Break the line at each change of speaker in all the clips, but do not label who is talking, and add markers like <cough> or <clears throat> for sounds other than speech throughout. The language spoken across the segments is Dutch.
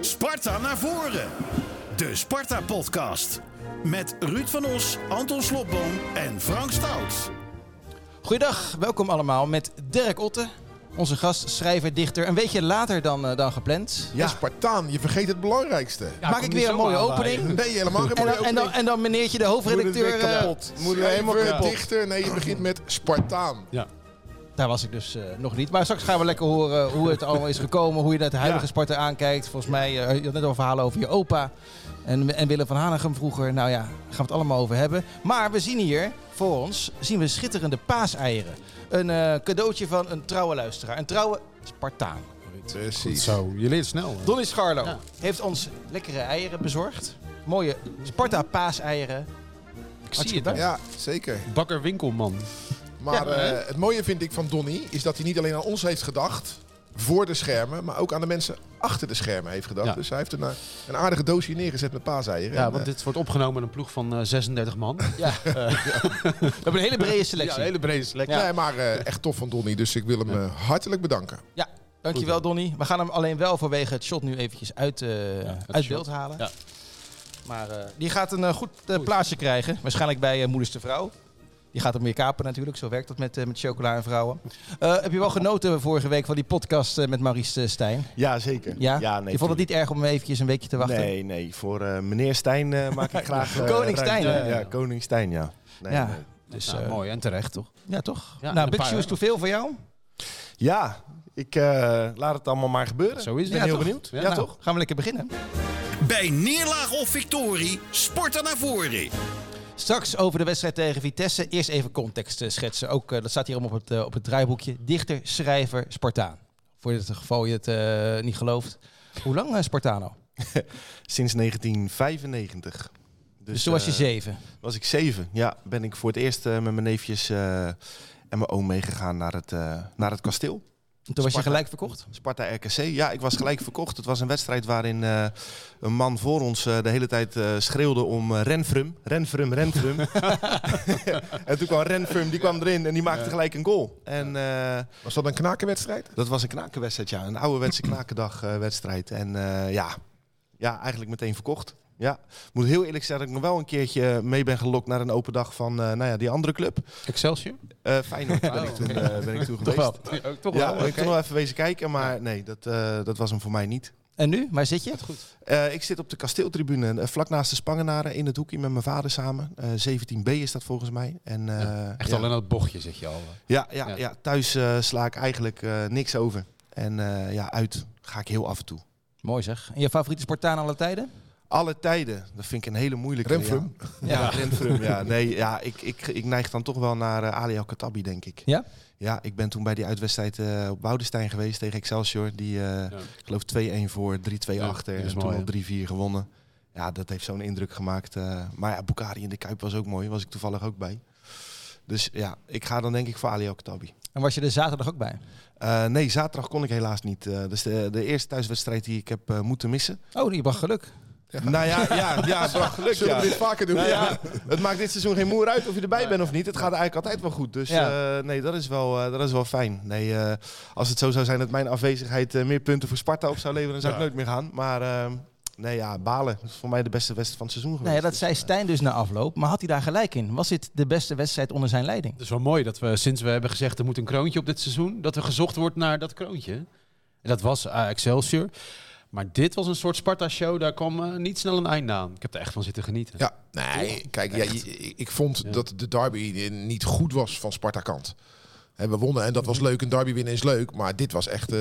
Sparta naar voren. De Sparta-podcast. Met Ruud van Os, Anton Slobboom en Frank Stout.
Goedendag, welkom allemaal met Dirk Otte, onze gast, schrijver, dichter. Een beetje later dan, eh, dan gepland.
Ja, Spartaan, je vergeet het belangrijkste.
Maak ik weer een mooie opening. En
Nee, helemaal geen
dan, en, dan, en dan meneertje de hoofdredacteur. eh,
Moeten we helemaal
Schrijver,
weer
ja.
dichter? Nee, je begint met Spartaan.
Ja.
daar was ik dus eh, nog niet. Maar straks gaan we lekker horen eh, hoe het allemaal is gekomen. Hoe je naar het huidige
Ja.
Sparta aankijkt. Volgens mij, eh, je had net al verhalen over je opa. En, en Willem van Hanegem vroeger. Nou ja, daar gaan we het allemaal over hebben. Maar we zien hier voor ons zien we schitterende paaseieren. Een eh, cadeautje van een trouwe luisteraar. Een trouwe Spartaan.
Precies.
Zo, je leert snel. hè?
Donny Scharlo heeft ons lekkere eieren bezorgd. Mooie Sparta paaseieren.
Ik
Hartstikke
zie het. hè?
Ja, zeker.
Bakker Winkelman.
Maar
Ja.
eh, het mooie vind ik van Donny is dat hij niet alleen aan ons heeft gedacht voor de schermen, maar ook aan de mensen achter de schermen heeft gedacht.
Ja.
Dus hij heeft een, eh, een aardige doosje neergezet met paaseieren.
Ja,
En,
want
eh,
dit wordt opgenomen in een ploeg van eh, 36 <laughs> man.
Ja. We hebben een hele brede
Ja, een
selectie.
hele brede selectie.
Nee, maar eh, echt tof van Donny, dus ik wil hem eh, hartelijk bedanken.
Ja, dankjewel Donny. We gaan hem alleen wel vanwege het shot nu eventjes uit, eh,
het
uit
shot.
beeld halen.
Ja.
Maar eh, die gaat een eh, goed eh, plaatsje krijgen. Waarschijnlijk bij eh, Moeders de Vrouw. Die gaat hem weer kapen natuurlijk. Zo werkt dat met, eh, met chocola en vrouwen. Eh, heb je wel genoten vorige week van die podcast eh, met Maurice eh, Stijn?
Ja, zeker.
Ja?
nee,
je vond het niet erg om eventjes een weekje te wachten?
Nee, nee. Voor eh, meneer Stijn eh, maak
<laughs>
ik graag... eh,
Koning
ruimte.
Stijn, hè?
Ja, ja, Koning Stijn, ja. Nee,
ja.
nee.
Dus,
Nou,
eh,
mooi en terecht, toch?
Ja, toch?
Ja, en
nou,
een
Big
paar-
Shoes, te veel voor jou?
Ja, ik eh, laat het allemaal maar gebeuren.
Zo is het.
ben
Ja,
heel
toch?
benieuwd. Ja,
Nou,
toch?
Gaan we lekker beginnen.
Bij neerlaag of victorie, Sparta naar voren.
Straks over de wedstrijd tegen Vitesse. Eerst even context eh, schetsen. Ook, eh, dat staat hier allemaal op het, eh, op het draaiboekje. Dichter, schrijver, Spartaan. Voor het geval je het eh, niet gelooft. Hoe lang eh, Spartaan al?
Sinds 1995. Dus,
Dus toen was je
eh,
zeven.
Was ik zeven. Ja, ben ik voor het eerst eh, met mijn neefjes eh, en mijn oom meegegaan naar het, eh, naar het kasteel.
En toen was je
Sparta.
gelijk verkocht?
Sparta RKC. Ja, ik was gelijk verkocht. Het was een wedstrijd waarin eh, een man voor ons eh, de hele tijd eh, schreeuwde om eh, Renfrum. Renfrum, Renfrum.
<laughs>
<laughs> en toen kwam Renfrum, die kwam erin en die maakte gelijk een goal. En eh,
Was dat een knakenwedstrijd?
dat was een knakenwedstrijd, ja. Een
<clears throat>
ouderwetse knakendagwedstrijd. en eh, ja. ja, eigenlijk meteen verkocht. Ja, Ik moet heel eerlijk zeggen dat ik nog wel een keertje mee ben gelokt naar een open dag van eh, nou ja, die andere club.
Excelsior?
Eh Feyenoord ben, ik toen, eh, ben
<laughs>
ik toen geweest.
Ja, toch
Ja,
Oh. wel.
ik heb toen wel even wezen kijken, maar nee, dat, eh, dat was hem voor mij niet.
En nu? Waar zit je?
Eh, ik zit op de kasteeltribune, eh, vlak naast de Spangenaren, in het hoekje met mijn vader samen. Eh, 17b is dat volgens mij. En, eh,
Echt
ja.
al in dat bochtje zit je al.
Ja, ja,
Ja.
ja. thuis eh, sla ik eigenlijk eh, niks over. En eh, ja, uit ga ik heel af en toe.
Mooi zeg. En je favoriete Spartaan alle tijden?
Alle tijden, dat vind ik een hele moeilijke.
Renfrum?
Ja, ja. Renfrum, ja. Nee, ja, ik, ik, ik neig dan toch wel naar eh, Ali Al-Khattabi, denk ik.
Ja?
Ja, ik ben toen bij die uitwedstrijd eh, op Boudestein geweest tegen Excelsior. Die, eh, ik geloof 2-1 voor, 3-2
Ja,
achter
dat
en
is
toen
mooi,
al 3-4 gewonnen. Ja, dat heeft zo'n indruk gemaakt. eh. maar ja, Bukari in de Kuip was ook mooi. Was ik toevallig ook bij. Dus ja, ik ga dan denk ik voor Ali Al-Khattabi.
En was je er zaterdag ook bij?
Eh, nee, zaterdag kon ik helaas niet. Eh, dat is de, de eerste thuiswedstrijd die ik heb eh, moeten missen.
Oh, die bracht geluk.
Nou ja, ja, ja het bracht geluk.
Zullen
Ja.
we dit vaker doen?
Nou ja, het maakt dit seizoen geen moer uit of je erbij bent of niet. Het gaat eigenlijk altijd wel goed. Dus
Ja.
eh, nee, dat is wel, eh, dat is wel fijn. Nee, eh, als het zo zou zijn dat mijn afwezigheid eh, meer punten voor Sparta op zou leveren, dan zou ik nooit meer gaan. Maar eh, nee, ja, balen. Dat is voor mij de beste wedstrijd van het seizoen geweest.
Nee, dat zei Stijn dus na afloop. Maar had hij daar gelijk in? Was dit de beste wedstrijd onder zijn leiding?
Het is wel mooi dat we, sinds we hebben gezegd er moet een kroontje op dit seizoen, dat er gezocht wordt naar dat kroontje. En dat was eh, Excelsior. Maar dit was een soort Sparta-show, daar kwam eh, niet snel een einde aan. Ik heb er echt van zitten genieten.
Ja, nee, kijk, ja, je- ik, ik vond dat de derby eh, niet goed was van Sparta kant. Hè, we wonnen en dat was leuk, een derby winnen is leuk, maar dit was echt, eh,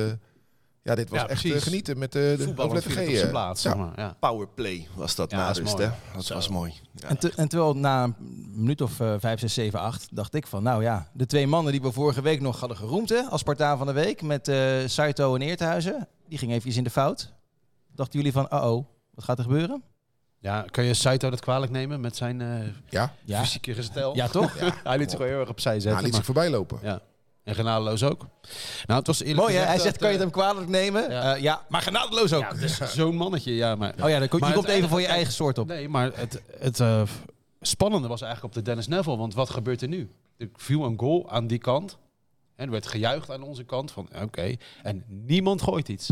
ja, dit was
Ja,
echt
precies.
eh, genieten met eh, de
Voetbal
hoofdletter G.
op zijn
eh.
plaats.
Ja.
zeg maar, ja.
Powerplay was dat
Ja,
na
dat is
rust,
mooi.
hè? Dat was mooi. Ja.
En, te- en terwijl na een minuut of eh, vijf, zes, zeven, acht dacht ik van, nou ja, de twee mannen die we vorige week nog hadden geroemd hè, als Spartaan van de Week met eh Saito en Eerthuizen, die ging eventjes in de fout. Dachten jullie van, oh oh, wat gaat er gebeuren?
Ja, kun je Saito dat kwalijk nemen met zijn eh,
Ja,
Ja,
fysieke gestel?
ja toch?
Hij liet zich wel heel erg opzij
hij
zetten.
liet zich
maar-
nou, voorbij lopen.
ja. En genadeloos ook. Nou, het was eerlijk
Mooi hè,
gezegd
hij
dat,
zegt, kan je het
eh,
hem kwalijk nemen?
ja.
Ja, ja maar genadeloos ook.
ja, het is Zo'n mannetje, ja, maar...
oh ja, dan kom, je
Maar
komt even voor je
uiteindelijk-
eigen soort op.
Nee, maar het, het eh, spannende was eigenlijk op de Dennis Neville. Want wat gebeurt er nu? Er viel een goal aan die kant. En er werd gejuicht aan onze kant van oké. En niemand gooit iets.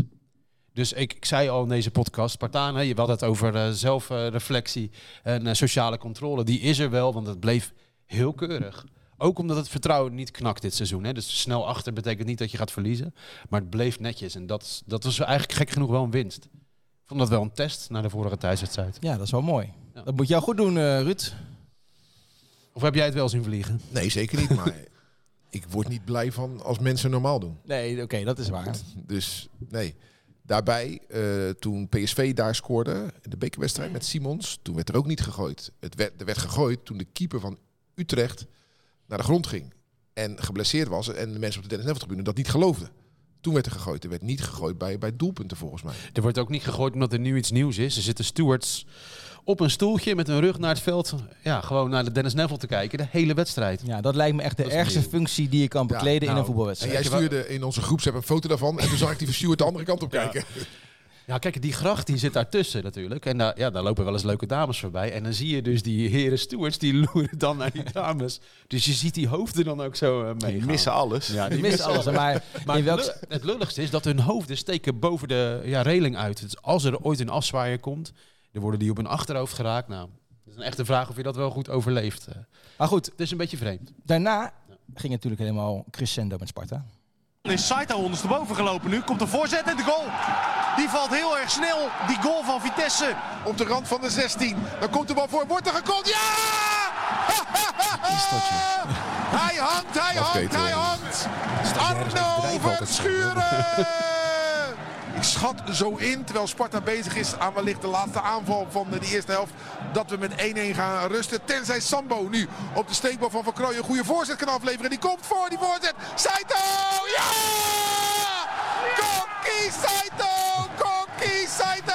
Dus ik, ik zei al in deze podcast, Spartanen, je had het over eh, zelfreflectie en eh, sociale controle. Die is er wel, want het bleef heel keurig. Ook omdat het vertrouwen niet knakt dit seizoen. Hè. Dus snel achter betekent niet dat je gaat verliezen. Maar het bleef netjes. En dat, is- dat was eigenlijk gek genoeg wel een winst. Ik vond dat wel een test naar de vorige thuiswedstrijd.
Ja, dat is wel mooi.
Ja.
Dat moet jou goed doen, eh, Ruud.
Of heb jij het wel zien vliegen?
Nee, zeker niet. Maar ik word niet blij van als mensen normaal doen.
Nee, oké, dat is waar.
Dus nee. Daarbij, eh, toen PSV daar scoorde, in de bekerwedstrijd met Simons, toen werd er ook niet gegooid. Het werd, er werd gegooid toen de keeper van Utrecht naar de grond ging. En geblesseerd was en de mensen op de Dennis Neville tribune dat niet geloofden. Toen werd er gegooid. Er werd niet gegooid bij, bij doelpunten volgens mij.
Er wordt ook niet gegooid omdat er nu iets nieuws is. Er zitten stewards op een stoeltje met hun rug naar het veld. Ja, gewoon naar de Dennis Neville te kijken. De hele wedstrijd.
Ja, dat lijkt me echt de
Dat is
ergste
nieuw.
functie die je kan
Ja,
bekleden in
nou,
een
En
voetbalwedstrijd.
jij stuurde in onze groepsapp een foto daarvan. En toen zag ik die van Stuart de andere kant op kijken.
Ja, kijk, die gracht die zit daartussen natuurlijk. En daar, ja, daar lopen wel eens leuke dames voorbij. En dan zie je dus die heren stewards, die <laughs> loeren dan naar die dames. Dus je ziet die hoofden dan ook zo eh, meegaan.
<laughs> Die missen alles.
Ja,
Je
die
mist alles, maar,
Maar
in welk...
het lul- het lulligste is dat hun hoofden steken boven de ja, reling uit. Dus als er ooit een afzwaaier komt, dan worden die op hun achterhoofd geraakt. Nou, het is een echte vraag of je dat wel goed overleeft. eh.
Maar goed,
Het is een beetje vreemd.
daarna ging het natuurlijk helemaal crescendo met Sparta.
Dan is Saita ondersteboven gelopen nu. Komt de voorzet en de goal. Die valt heel erg snel. Die goal van Vitesse.
Op de rand van de 16. Dan komt de bal voor. Wordt er gekopt. Ja! <laughs> Hij hangt, hij hangt, hij hangt. Arno van Schuren! <laughs> Ik schat zo in, terwijl Sparta bezig is aan wellicht de laatste aanval van de eerste helft, dat we met 1-1 gaan rusten. Tenzij Sambo nu op de steekbal van Van Krooij een goede voorzet kan afleveren. Die komt voor, die voorzet. Saito! Ja! Kokkie Saito! Kokkie Saito!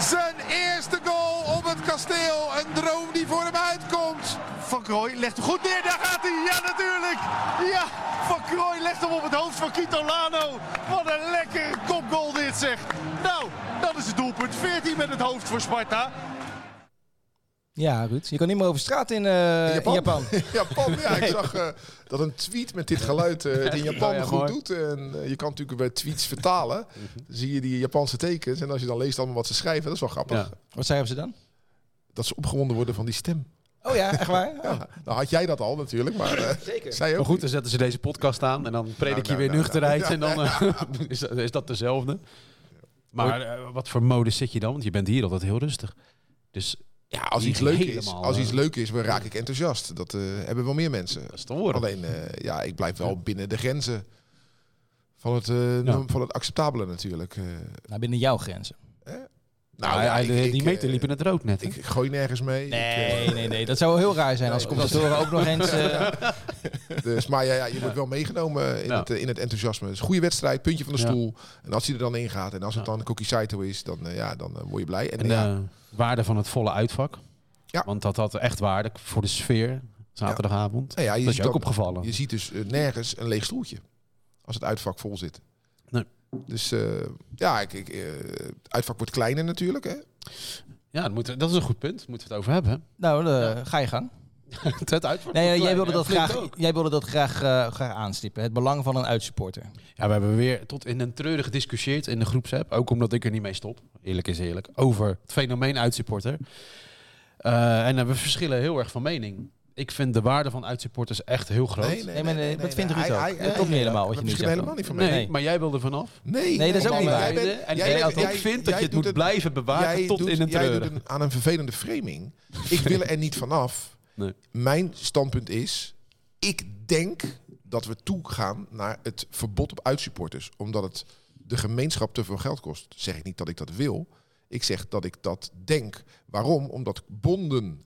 Zijn eerste goal op het kasteel. Een droom die voor hem uitkomt.
Van Krooi legt hem goed neer. Daar gaat hij. Ja, natuurlijk. Ja, Van Krooi legt hem op het hoofd van Kito Lano. Wat een lekkere kopgoal dit zeg. Nou, dat is het doelpunt. 14 met het hoofd voor Sparta.
Ja, Ruud, je kan niet meer over straat in, eh, in Japan.
<laughs> ja, Pan, ja, ik zag eh, dat een tweet met dit geluid eh, het in Japan
ja,
goed
mooi. Mhm.
doet. En eh, je kan natuurlijk bij tweets vertalen. Dan zie je die Japanse tekens. En als je dan leest allemaal wat ze schrijven, dat is wel grappig.
Ja.
<laughs> Wat zeiden ze dan?
Dat ze opgewonden worden van die stem.
Oh <laughs> ja, echt waar? Oh.
Ja, nou had jij dat al natuurlijk, maar eh, zij ook.
Maar goed,
niet.
dan zetten ze deze podcast aan en dan predik
Nou,
je weer
nou,
nuchterheid. En dan eh, <laughs> is, dat- is dat dezelfde. Maar eh, wat voor modus zit je dan? Want je bent hier altijd heel rustig. Dus
ja, als
niet
iets leuk is,
helemaal,
als
eh,
iets leuk is, dan raak ik enthousiast. Dat eh, hebben wel meer mensen.
dat is te horen.
Alleen, eh, ja, ik blijf wel binnen de grenzen van het, eh, norm- van het acceptabele natuurlijk. eh.
Nou, binnen jouw grenzen.
nou,
Maar
ja,
hij-
ik-
die
ik, eh,
meter liep in het rood net. hè?
Ik, ik gooi nergens mee. Ik, eh,
Nee, nee, nee. Dat zou wel heel raar zijn als
Nee,
commentatoren ook nog eens... <laughs> eh,
Dus, maar ja, ja, je wordt wel meegenomen in,
Ja.
het, eh, in het enthousiasme. Het is een goede wedstrijd, puntje van de
Ja.
stoel. En als hij er dan in gaat en als het dan Cookie Saito is, dan, eh, ja, dan eh, word je blij. En,
En de
ja,
waarde van het volle uitvak.
Ja.
Want dat had echt waarde voor de sfeer zaterdagavond.
nou ja, je,
Dat is
ziet
je ook
dan-
opgevallen.
je ziet dus eh, nergens een leeg stoeltje als het uitvak vol zit.
Nee.
Dus eh, ja, ik, ik, eh, het uitvak wordt kleiner natuurlijk. Hè?
Ja, dat, moet, dat is een goed punt. Moeten we het over hebben. <laughs>
nou, eh, ga je gang.
het uitvak.
Nee, eh,
wordt
jij wilde
kleiner.
dat
Flink
graag,
ook.
jij wilde dat graag, eh, graag aanstippen. Het belang van een uitsupporter.
Ja, we hebben weer tot in een treurig gediscussieerd in de groepsapp. Ook omdat ik er niet mee stop. Eerlijk is eerlijk. Over het fenomeen uitsupporter. Eh, en eh, we verschillen heel erg van mening. Ik vind de waarde van uitsupporters echt heel groot. Nee,
Nee, maar nee, dat vindt Ruud
Hij-
ook.
hij-
Dat
hij- eh,
klopt niet helemaal wat je
we
nu zegt.
verschillen helemaal niet van mij.
Nee.
maar jij wilde vanaf.
Nee,
Nee, dat is ook
man,
niet
maar
waar.
jij bent-
en
jij bent-
ik vind dat
jij
je het
doet
moet blijven bewaren
Jij
tot
doet-
in een
Jij
treurig.
doet een- aan een vervelende framing. Ik wil er niet vanaf.
Nee.
Mijn standpunt is... Ik denk dat we toegaan naar het verbod op uitsupporters. Omdat het de gemeenschap te veel geld kost. Zeg ik niet dat ik dat wil. Ik zeg dat ik dat denk. Waarom? Omdat bonden,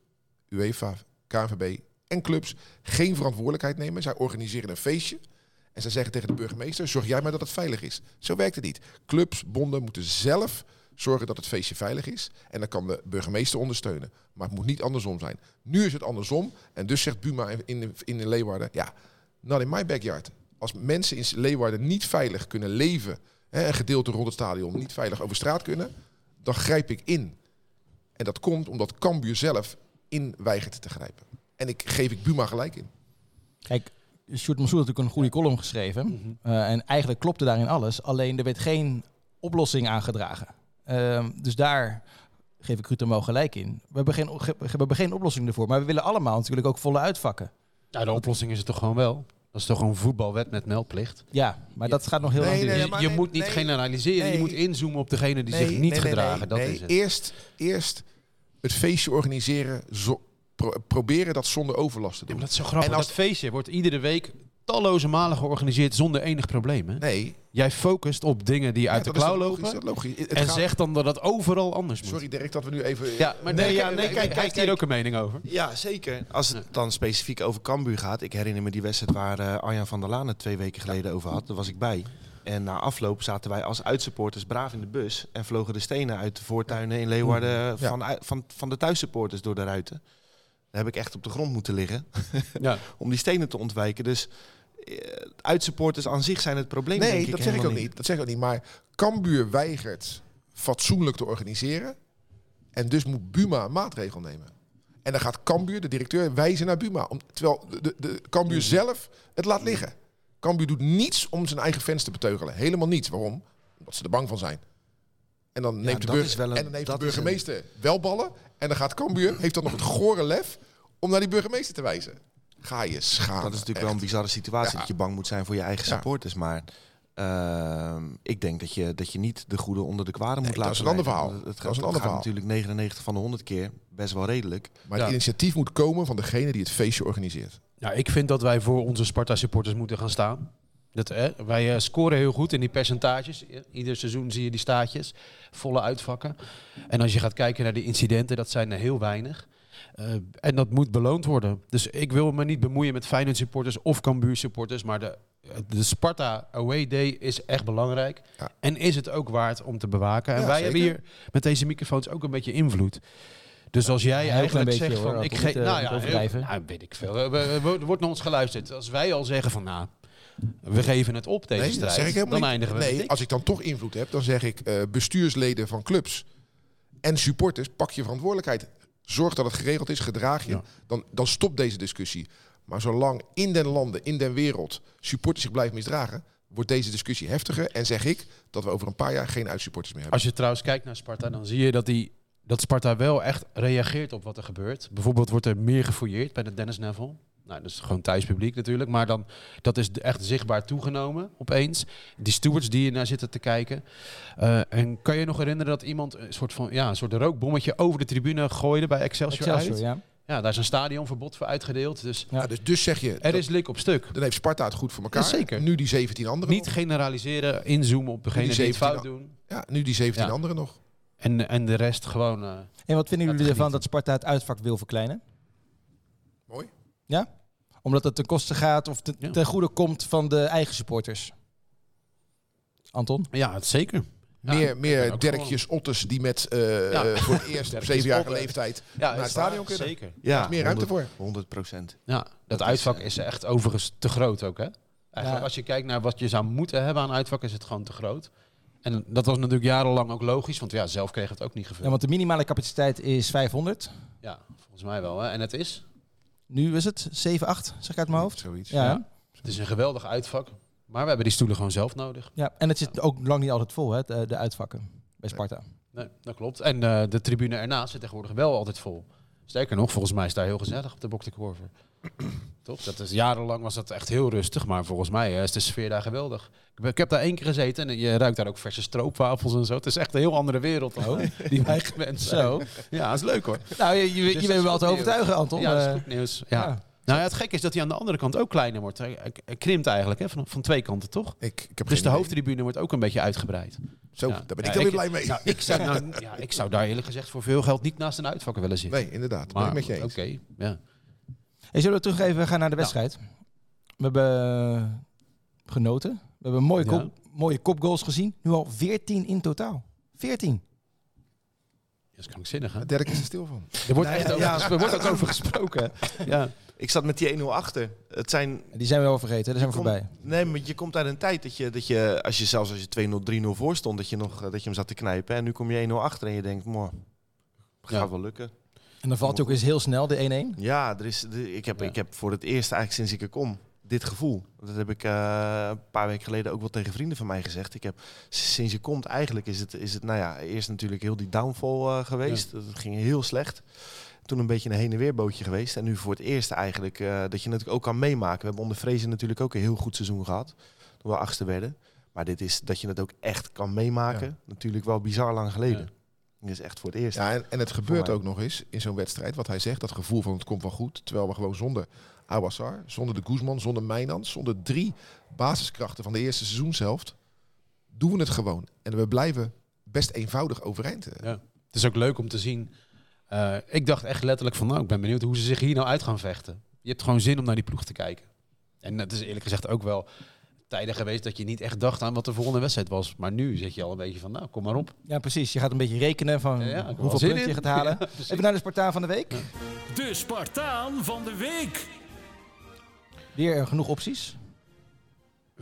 UEFA, KNVB en clubs... geen verantwoordelijkheid nemen. Zij organiseren een feestje. En zij zeggen tegen de burgemeester, zorg jij maar dat het veilig is. Zo werkt het niet. Clubs, bonden moeten zelf zorgen dat het feestje veilig is. En dan kan de burgemeester ondersteunen. Maar het moet niet andersom zijn. Nu is het andersom. En dus zegt Buma in, in Leeuwarden, ja, not in my backyard. Als mensen in Leeuwarden niet veilig kunnen leven, hè, een gedeelte rond het stadion niet veilig over straat kunnen, dan grijp ik in. En dat komt omdat Cambuur zelf in weigert te grijpen. En ik geef ik Buma gelijk in.
Kijk, Sjoerd Mansour had natuurlijk een goede column geschreven. Eh, en eigenlijk klopte daarin alles. Alleen er werd geen oplossing aangedragen. Ehm, dus daar geef ik Rutemo gelijk in. We hebben, geen, we hebben geen oplossing ervoor. Maar we willen allemaal natuurlijk ook volle uitvakken.
Nou, de oplossing is het toch gewoon wel. Dat is toch gewoon voetbalwet met meldplicht.
Ja, maar dat gaat nog heel
Nee,
lang
nee,
duren.
je
maar
je
nee,
moet niet
nee,
generaliseren.
nee.
je moet inzoomen op degene die zich
Nee,
niet
nee, nee,
gedragen.
nee,
dat
nee.
is het.
Eerst, eerst het feestje organiseren. zo- pro- proberen dat zonder overlast te
Ja,
doen.
maar dat is zo grappig.
En als-
Dat feestje wordt iedere week talloze malen georganiseerd zonder enig probleem. Hè?
Nee,
Jij focust op dingen die uit
ja,
de
dat is
klauw
toch logisch,
lopen.
dat is logisch. Het
en
gaat-
zegt dan dat dat overal anders moet.
Sorry Dirk, dat we nu even...
Ja, maar
Nee,
nee,
ja,
kijk,
nee, kijk,
hij heeft
kijk.
hier ook een mening
<laughs>
over.
Ja, zeker. Als het dan specifiek over Cambuur gaat. Ik herinner me die wedstrijd waar eh, Arjan van der Laan het twee weken geleden over had. Daar was ik bij. En na afloop zaten wij als uitsupporters braaf in de bus. En vlogen de stenen uit de voortuinen in Leeuwarden eh, van, van, van de thuissupporters door de ruiten. Daar heb ik echt op de grond moeten liggen
Ja.
om die stenen te ontwijken. Dus eh, uitsupporters aan zich zijn het probleem. denk
Nee, dat zeg ik
helemaal
ook niet. Dat zeg ik ook niet. Maar Cambuur weigert fatsoenlijk te organiseren. En dus moet Buma een maatregel nemen. En dan gaat Cambuur, de directeur, wijzen naar Buma. Om, terwijl de, de, de
Mm.
Cambuur zelf het laat liggen. Cambuur doet niets om zijn eigen fans te beteugelen. Helemaal niets. Waarom? Omdat ze er bang van zijn. En dan neemt, de,
dat
burg-
is wel een-
en dan neemt de
dat is een-
burgemeester wel ballen. En dan gaat Cambuur, heeft dan nog het gore lef om naar die burgemeester te wijzen. Ga je schamen.
Dat is natuurlijk
echt.
wel een bizarre situatie
Ja.
dat je bang moet zijn voor je eigen
Ja.
supporters. Maar ehm, ik denk dat je, dat je niet de goede onder de kwade moet
Nee, dat
laten
is een ander
leiden.
verhaal.
Het,
Dat
het
is
gaat,
een
het
ander
gaat
verhaal.
natuurlijk 99 van de 100 keer best wel redelijk.
Maar
Ja.
het initiatief moet komen van degene die het feestje organiseert.
Nou, ik vind dat wij voor onze Sparta-supporters moeten gaan staan. Dat, hè, wij eh, scoren heel goed in die percentages. I- Ieder seizoen zie je die staatjes. Volle uitvakken. En als je gaat kijken naar die incidenten, dat zijn er heel weinig. Eh, en dat moet beloond worden. Dus ik wil me niet bemoeien met Feyenoord supporters of Cambuur supporters. Maar de, de Sparta Away Day is echt belangrijk.
Ja.
En is het ook waard om te bewaken. En
Ja,
wij
zeker.
hebben hier met deze microfoons ook een beetje invloed. Dus als jij
heel
eigenlijk
klein
zegt
beetje,
van
hoor,
ik
ook
geef
niet, eh,
nou
niet
ja,
overdrijven.
heel- nou, weet ik veel. Eh, we- we- Er wordt naar ons geluisterd. Als wij al zeggen van nou, we geven het op deze
Nee, dat
strijd,
zeg ik helemaal
dan
niet.
eindigen we. met
Nee,
ik.
als ik dan toch invloed heb, dan zeg ik eh, bestuursleden van clubs en supporters, pak je verantwoordelijkheid. Zorg dat het geregeld is, gedraag je.
Ja.
Dan, dan stopt deze discussie. Maar zolang in den landen, in den wereld, supporters zich blijven misdragen, wordt deze discussie heftiger. En zeg ik dat we over een paar jaar geen uitsupporters meer hebben.
Als je trouwens kijkt naar Sparta, dan zie je dat, die, dat Sparta wel echt reageert op wat er gebeurt. Bijvoorbeeld wordt er meer gefouilleerd bij de Dennis Neville. Nou, dat is gewoon thuispubliek natuurlijk. Maar dan, dat is echt zichtbaar toegenomen opeens. Die stewards die je naar zitten te kijken. Eh, en kan je nog herinneren dat iemand een soort, van, ja, een soort rookbommetje over de tribune gooide bij Excelsior,
Excelsior,
uit?
ja.
Ja, daar is een stadionverbod voor uitgedeeld. Dus
Ja.
Ja, dus, dus zeg je,
er
dat-
is lik op stuk.
dan heeft Sparta het goed voor elkaar.
Ja, zeker.
Nu die 17 anderen
Niet
nog.
generaliseren, inzoomen op degene
Die
die, het
17
fout
al.
doen.
Ja, nu die 17
Ja.
anderen nog.
En, en de rest gewoon... eh,
En wat vinden
Laat
jullie ervan
genieten.
dat Sparta het uitvak wil verkleinen?
Mooi.
Ja? Omdat het ten koste gaat of te-
Ja.
ten goede komt van de eigen supporters. Anton?
ja, het zeker. Ja,
meer
ben
meer
ook
Derkjes Otters die met eh,
Ja.
voor het
<laughs>
eerst op
Derkjes
zevenjarige
Otter.
leeftijd
Ja,
naar het
is
stadion
waar,
kunnen.
Zeker.
Ja,
meer ruimte voor.
100 procent.
Ja, dat,
is,
uitvak
eh,
is, echt overigens te groot ook, hè? Eigenlijk
Ja.
als je kijkt naar wat je zou moeten hebben aan uitvak, is het gewoon te groot. En dat was natuurlijk jarenlang ook logisch, want ja, zelf kregen we het ook niet
Ja,
gevuld.
want de minimale capaciteit is 500.
Ja, volgens mij wel, hè? En het is,
Nu is het 7, 8, zeg ik uit mijn hoofd.
Zoiets.
Ja.
Ja. het is een geweldig uitvak, maar we hebben die stoelen gewoon zelf nodig.
Ja, en het zit ook lang niet altijd vol, hè, eh, de, de uitvakken bij Sparta.
Nee, dat klopt. En eh, de tribune ernaast zit tegenwoordig wel altijd vol. Sterker nog, volgens mij is daar heel gezellig op de Bok de Korver. <clears throat> Toch? Dat is, jarenlang was dat echt heel rustig, maar volgens mij eh, is de sfeer daar geweldig. Ik, ben- ik heb daar één keer gezeten en je ruikt daar ook verse stroopwafels en zo. Het is echt een heel andere wereld dan <laughs> die wij gewend zijn.
Zo.
Ja, dat is Oh. leuk hoor.
Nou, je, je, je
dat
bent
is
me wel
goed
te
nieuws.
overtuigen, Anton.
Ja, dat is
Eh,
goed nieuws. Ja.
ja.
Nou ja, het gekke is dat hij aan de andere kant ook kleiner wordt. Hij, hij- hij krimpt eigenlijk hè, van, van twee kanten, toch?
Ik, ik heb
Dus
geen
de
idee.
hoofdtribune wordt ook een beetje uitgebreid.
Zo,
Ja.
daar ben ik
Ja,
heel
ik-
blij mee.
Nou, ik zou,
<laughs>
nou, ja, ik zou daar eerlijk gezegd voor veel geld niet naast een uitvakker willen zitten.
nee, inderdaad. ben
maar
ik met je
goed,
eens.
oké. ja.
hey, zullen we terug even gaan naar de wedstrijd? We hebben eh, genoten. We hebben mooie,
Ja.
kop, mooie kopgoals gezien. Nu al 14 in totaal. 14.
Dat is krankzinnig, hè?
Maar Dirk is er stil van.
Er wordt, echt over,
ja.
gesproken- er wordt ook over gesproken.
<laughs>
Ja.
Ik zat met die 1-0 achter. Het zijn
Die zijn we wel vergeten, daar zijn we
Kom-
voorbij.
Nee, maar je komt uit een tijd dat je, dat je als je zelfs als je 2-0, 3-0 voor stond, dat je, nog, eh, dat je hem zat te knijpen. En nu kom je 1-0 achter en je denkt, moh, gaat
Ja.
wel lukken.
En dan valt hij ook eens heel snel, de 1-1.
Ja, er is, de- ik, heb,
Ja.
ik heb voor het eerst eigenlijk sinds ik er kom dit gevoel. Dat heb ik eh, een paar weken geleden ook wel tegen vrienden van mij gezegd. Ik heb sinds je komt eigenlijk is het, is het nou ja, eerst natuurlijk heel die downfall eh, geweest. Dat ging heel slecht. Toen een beetje een heen en weer bootje geweest. En nu voor het eerst eigenlijk eh, dat je natuurlijk ook kan meemaken. We hebben onder Vrezen natuurlijk ook een heel goed seizoen gehad. Toen we achtste werden. Maar dit is dat je het ook echt kan meemaken. Natuurlijk wel bizar lang geleden. Dit is echt voor het eerst.
Ja, en, en het gebeurt
mij.
ook nog eens in zo'n wedstrijd, wat hij zegt, dat gevoel van het komt wel goed. Terwijl we gewoon zonder Awassar, zonder de Guzman, zonder Mijnans, zonder drie basiskrachten van de eerste seizoenshelft, doen we het gewoon. En we blijven best eenvoudig overeind. eh.
Ja. Het is ook leuk om te zien. Eh, ik dacht echt letterlijk van, nou, ik ben benieuwd hoe ze zich hier nou uit gaan vechten. Je hebt gewoon zin om naar die ploeg te kijken. En het is eerlijk gezegd ook wel tijden geweest dat je niet echt dacht aan wat de volgende wedstrijd was. Maar nu zit je al een beetje van, nou, kom maar op.
Ja, precies. Je gaat een beetje rekenen van
Ja, ik heb er wel
hoeveel
zin
punten je
in.
gaat halen.
Ja, precies.
Even naar de Spartaan van de week.
De Spartaan van de week.
Weer eh, genoeg opties.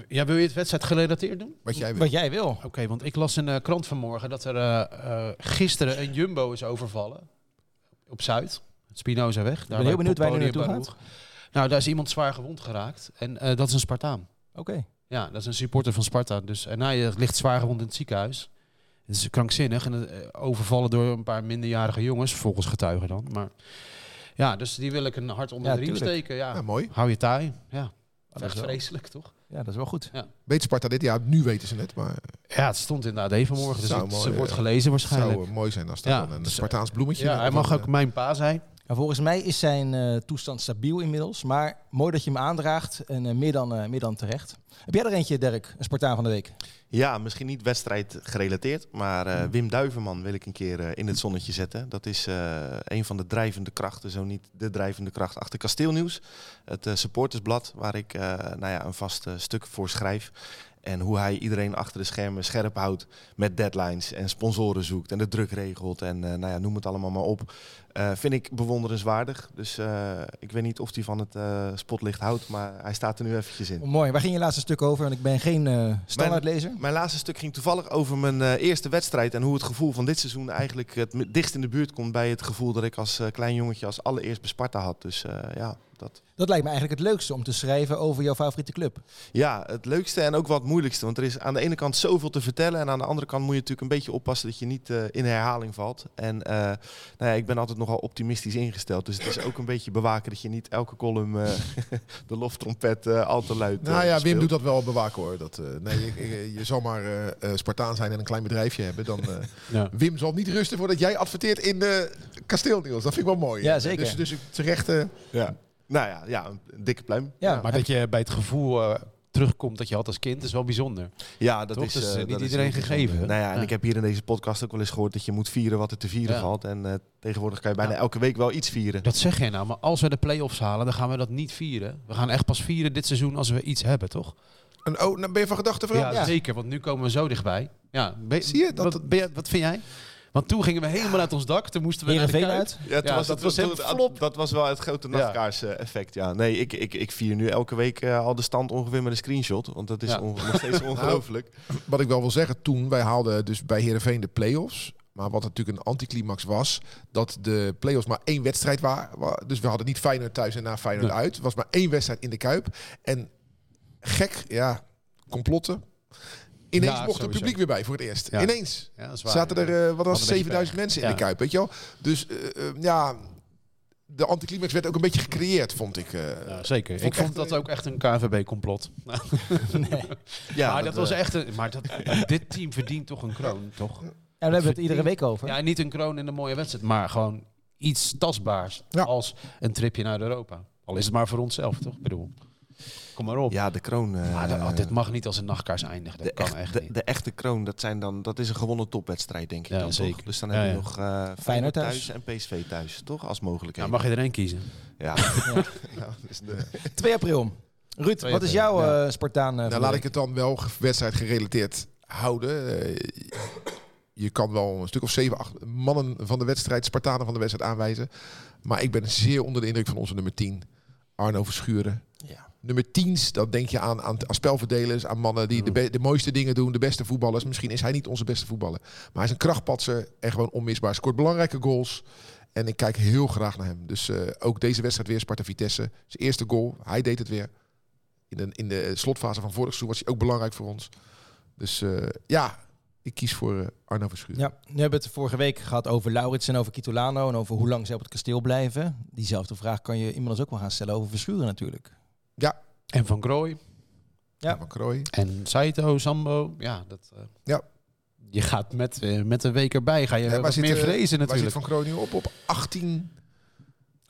Ja, wil je het wedstrijd gerelateerd doen?
Wat jij wil.
Wat jij wil.
Oké, want ik las in de krant vanmorgen dat er eh, eh, gisteren een Jumbo is overvallen. Op Zuid. Spinoza weg. Daar
heel
bij
benieuwd waar je nu
Poppodium
naartoe
bij Hoek. Nou, daar is iemand zwaar gewond geraakt. En eh, dat is een Spartaan.
Oké.
Ja, dat is een supporter van Sparta. Dus, en hij eh, ligt zwaar gewond in het ziekenhuis. Het is krankzinnig. En eh, overvallen door een paar minderjarige jongens, volgens getuigen dan. Maar ja, dus die wil ik een hart onder
Ja,
de riem
tuurlijk.
steken. Ja.
Ja, mooi.
Hou je taai. Ja,
dat is
echt
wel-
vreselijk, toch?
Ja, dat is wel goed.
Weet Sparta dit? Ja, nu weten ze het, maar
Ja, het stond in de AD vanmorgen. Dus
Zou
het,
mooi,
ze wordt
eh,
gelezen
het zou
waarschijnlijk.
eh, mooi zijn als dat
Ja,
dan een
dus, eh,
Spartaans bloemetje.
Ja, hij
of
mag
een,
ook mijn pa zijn.
En Nou, volgens mij is zijn eh, toestand stabiel inmiddels. Maar mooi dat je hem aandraagt. En eh, meer, dan, eh, meer dan terecht. Heb jij er eentje, Dirk? Een Spartaan van de week.
Ja, misschien niet wedstrijd gerelateerd, maar eh, Wim Duiverman wil ik een keer eh, in het zonnetje zetten. Dat is eh, een van de drijvende krachten, zo niet de drijvende kracht achter Kasteelnieuws. Het eh, supportersblad waar ik eh, nou ja, een vast eh, stuk voor schrijf. En hoe hij iedereen achter de schermen scherp houdt met deadlines en sponsoren zoekt en de druk regelt en eh, nou ja, noem het allemaal maar op. Eh, vind ik bewonderenswaardig. Dus eh, ik weet niet of hij van het eh, spotlicht houdt, maar hij staat er nu eventjes in.
Oh, mooi. Waar ging je laatste stuk over? Want ik ben geen eh standaardlezer.
Mijn laatste stuk ging toevallig over mijn eh, eerste wedstrijd en hoe het gevoel van dit seizoen eigenlijk het mi- dichtst in de buurt komt bij het gevoel dat ik als eh, klein jongetje als allereerst bij Sparta had. Dus eh, ja, dat.
Dat lijkt me eigenlijk het leukste om te schrijven over jouw favoriete club.
ja, het leukste en ook wel het moeilijkste. Want er is aan de ene kant zoveel te vertellen en aan de andere kant moet je natuurlijk een beetje oppassen dat je niet eh, in herhaling valt. En eh, nou ja, ik ben altijd nogal optimistisch ingesteld, dus het is ook een beetje bewaken dat je niet elke column eh, <laughs> de loftrompet eh, al te luid eh,
Nou ja, Wim
speelt.
doet dat wel bewaken hoor. Dat, eh, nee, ik- ik- je zal maar eh, eh, Spartaan zijn en een klein bedrijfje hebben. Dan, <laughs> eh,
Ja.
Wim zal niet rusten voordat jij adverteert in de kasteelnieuws. Dat vind ik wel mooi.
Ja, zeker.
Dus, dus terecht. eh,
Ja. Nou ja, ja, een dikke pluim.
Ja,
Maar dat je bij het gevoel eh, terugkomt dat je had als kind, is wel bijzonder.
Ja, dat
Toch?
is,
Dat is,
eh,
eh, niet
dat is
iedereen
heel
gegeven, hè?
bijzonder. Nou ja, en
Ja.
ik heb hier in deze podcast ook wel eens gehoord dat je moet vieren wat er te vieren
Ja.
valt. En eh, tegenwoordig kan je bijna
Ja.
elke week wel iets vieren.
Dat zeg jij nou, maar als we de play-offs halen, dan gaan we dat niet vieren. We gaan echt pas vieren dit seizoen als we iets hebben, toch?
een, oh, nou ben je van gedachten
Ja,
veranderd?
zeker, want nu komen we zo dichtbij. Ja, ben-
Zie je, dat-
wat, ben jij- wat vind jij? Want toen gingen we helemaal uit ons dak, toen moesten we naar de
Heerenveen
Kuip.
uit.
Ja, toen
Ja,
was
dat
het,
was
toen-
echt
toen-
flop.
dat was wel het grote nachtkaars eh, effect. Ja. Nee, ik, ik, ik vier nu elke week eh, al de stand ongeveer met een screenshot. Want dat is
Ja. Nou,
onge- nog
<laughs>
steeds ongelooflijk.
Nou, Wat ik wel wil zeggen, toen wij haalden dus bij Heerenveen de play-offs. Maar wat natuurlijk een anticlimax was, dat de play-offs maar één wedstrijd waren. Dus we hadden niet Feyenoord thuis en na Feyenoord
Nee.
uit. Het was maar één wedstrijd in de Kuip. En gek, ja, complotten. Ineens
Ja,
mocht het
sowieso.
publiek weer bij voor het eerst.
Ja.
Ineens.
Ja, dat is waar,
Zaten
ja.
er, eh, wat was het,
Hadden een beetje
7000
pech.
mensen in
Ja.
de Kuip, weet je wel? Dus eh, eh, ja, de anticlimax werd ook een beetje gecreëerd, vond ik. eh.
Ja, zeker.
Vond
Ik
ik
vond
echt,
dat ook echt een <laughs> KNVB-complot.
Ja,
maar dat, was
eh,
echt een, maar <laughs> dat, dit team verdient toch een kroon, toch?
En daar hebben we het iedere week over. <laughs>
Ja, niet een kroon in een mooie wedstrijd, maar gewoon iets tastbaars
Ja.
als een tripje naar Europa. Al is het maar voor onszelf, toch? Ik bedoel, kom maar op.
Ja, de kroon. eh,
Maar dat- ah, dit mag niet als een nachtkaars eindigen. Dat
de,
kan
echt-
echt
de,
niet.
de echte kroon, dat, zijn dan, dat is een gewonnen topwedstrijd, denk ik
Ja,
dan
zeker.
toch? Dus dan
Ja,
heb je
ja.
nog eh Feyenoord,
thuis.
thuis. en PSV thuis, toch? Als
Ja,
mogelijkheid.
mag je er één kiezen.
Ja. Ja, dus de-
2 april. Ruud, wat is
april,
jouw
ja.
eh, Spartaan? eh, van
Nou,
de
laat
week?
ik het dan wel ge- wedstrijd gerelateerd houden. Eh, je kan wel een stuk of zeven, acht mannen van de wedstrijd, Spartanen van de wedstrijd aanwijzen. Maar ik ben zeer onder de indruk van onze nummer 10, Arno Verschuren.
ja.
Nummer 10, dan denk je aan, aan, aan spelverdelers, aan mannen die de, be- de mooiste dingen doen, de beste voetballers. Misschien is hij niet onze beste voetballer, maar hij is een krachtpatser en gewoon onmisbaar. Scoort belangrijke goals en ik kijk heel graag naar hem. Dus eh, ook deze wedstrijd weer Sparta-Vitesse. Zijn eerste goal, hij deed het weer. in de, in de slotfase van vorig seizoen was hij ook belangrijk voor ons. Dus eh, ja, ik kies voor eh, Arno Verschuren.
Ja, nu hebben we het vorige week gehad over Laurits en over Kitolano en over hoe lang ze op het kasteel blijven. Diezelfde vraag kan je inmiddels ook wel gaan stellen over Verschuren natuurlijk.
En Van Krooi.
Ja.
Van Krooi.
En Saito, Sambo. Ja, dat... eh,
Ja.
Je gaat met, eh, met een week erbij, ga je
waar
wat
zit, eh,
meer vrezen
Waar zit
natuurlijk.
Van Krooi nu op? Op 18...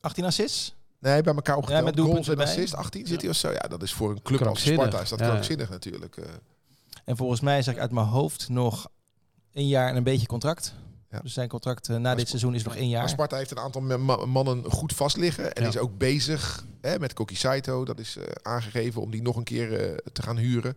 18 assists?
Nee, bij elkaar opgeteld.
met doelpunten
goals en
erbij.
assist. 18 zit hij of zo. Ja, dat is voor een club als
Krankzinnig.
Sparta is dat
Ja.
krankzinnig natuurlijk. eh.
En volgens mij zeg ik uit mijn hoofd nog een jaar en een beetje contract.
Ja.
Dus zijn contract eh, na dit
Sp-
seizoen is nog één
Maar
jaar.
Sparta heeft een aantal ma- mannen goed vast liggen. En
Ja.
is ook bezig hè, met Koki Saito. Dat is eh, aangegeven om die nog een keer eh, te gaan huren.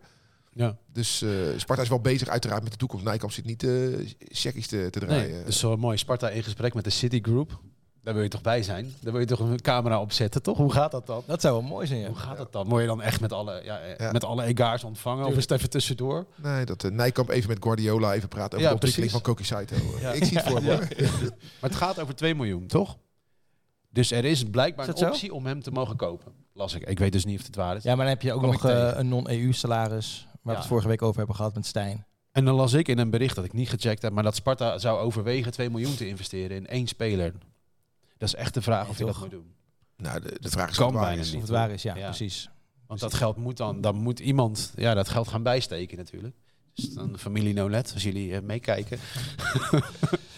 Ja.
Dus eh, Sparta is wel bezig uiteraard met de toekomst. Nijkamp zit niet de checkies te, te
Nee,
draaien.
dus zo mooi. Sparta in gesprek met de Citigroup. Daar wil je toch bij zijn? Daar wil je toch een camera op zetten, toch? Hoe gaat dat dan?
Dat zou wel mooi zijn, ja.
Hoe gaat dat dan? Word je dan echt met alle, ja, eh,
Ja.
met alle egaars ontvangen? Of is het even tussendoor?
Nee, dat eh, Nijkamp even met Guardiola even praat over
Ja,
de ontwikkeling
precies.
van Koki Saito.
Ja.
Ik zie het voor me. hoor.
Maar het gaat over 2 miljoen, toch? Dus er is blijkbaar
Is dat
een
zo?
optie om hem te mogen kopen. Las ik. Ik weet dus niet of het waar is.
Ja, maar dan heb je ook
Kom
nog
ik tegen.
eh, een non-EU-salaris, waar we
Ja.
het vorige week over hebben gehad met Stijn.
En dan las ik in een bericht dat ik niet gecheckt heb, maar dat Sparta zou overwegen 2 miljoen te investeren in één speler. Dat is echt de vraag of je dat
toch?
moet doen.
Nou, de, de vraag is
Kan
of het waar
bijna
is.
niet.
Of het
hoor.
waar is, ja,
Ja.
precies.
Want dat geld moet dan, dan moet iemand ja, dat geld gaan bijsteken natuurlijk. Dus dan familie Nolet, als jullie eh, meekijken.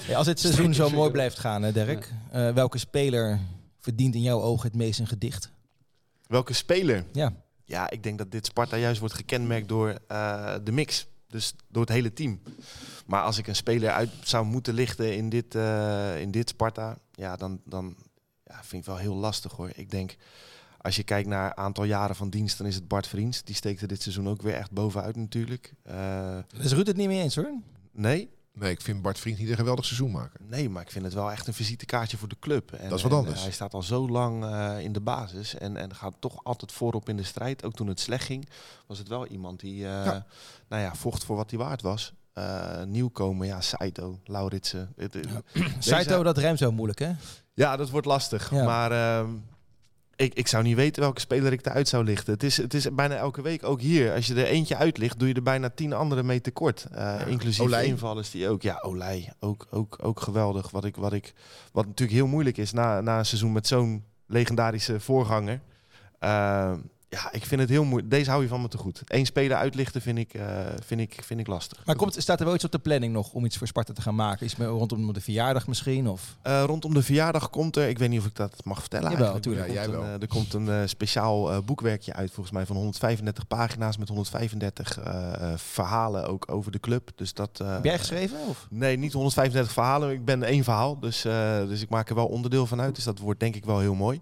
Ja, als dit seizoen zo
Zeker.
mooi blijft gaan, hè, Dirk, eh, welke speler verdient in jouw ogen het meest een gedicht?
Welke speler?
Ja.
Ja, ik denk dat dit Sparta juist wordt gekenmerkt door eh, de mix. Dus door het hele team. Maar als ik een speler uit zou moeten lichten in dit, eh, in dit Sparta, ja, dan, dan ja, vind ik wel heel lastig hoor. Ik denk, als je kijkt naar aantal jaren van dienst, dan is het Bart Vriends. Die steekt er dit seizoen ook weer echt bovenuit natuurlijk. Eh,
Is Ruud het niet mee eens, hoor?
nee,
Nee, ik vind Bart Vriend niet een geweldig seizoen maken.
nee, maar ik vind het wel echt een visitekaartje voor de club. En,
Dat is wat
en,
anders.
eh, hij staat al zo lang eh, in de basis en, en gaat toch altijd voorop in de strijd. Ook toen het slecht ging, was het wel iemand die eh,
Ja.
nou ja, vocht voor wat hij waard was. Eh, nieuwkomen, ja, Saito, Lauritsen. Het- het-
Saito, dat ruimt zo moeilijk, hè?
Ja, dat wordt lastig.
Ja.
Maar ehm, ik, ik zou niet weten welke speler ik eruit zou lichten. Het is, het is bijna elke week, ook hier. Als je er eentje uitlicht, doe je er bijna tien anderen mee tekort. Eh, inclusief
Olij.
invallers die ook. Ja, Olij. Ook, ook, ook geweldig. Wat, ik, wat, ik, wat natuurlijk heel moeilijk is na, na een seizoen met zo'n legendarische voorganger. Ehm, ja, ik vind het heel moeilijk. Deze hou je van me te goed. Eén speler uitlichten vind ik, eh, vind ik, vind ik lastig.
Maar komt, staat er wel iets op de planning nog om iets voor Sparta te gaan maken? Iets met- rondom de verjaardag misschien? Of?
Eh, rondom de verjaardag komt er, ik weet niet of ik dat mag vertellen
Jawel,
eigenlijk.
tuurlijk.
Er
Ja,
komt
jij
een,
wel.
eh, er komt een eh, speciaal eh, boekwerkje uit volgens mij van 135 pagina's met 135 eh, eh, verhalen ook over de club. Dus dat, eh,
Heb jij geschreven? Of?
Nee, niet 135 verhalen. Ik ben één verhaal, dus, eh, dus ik maak er wel onderdeel van uit. Dus dat wordt denk ik wel heel mooi.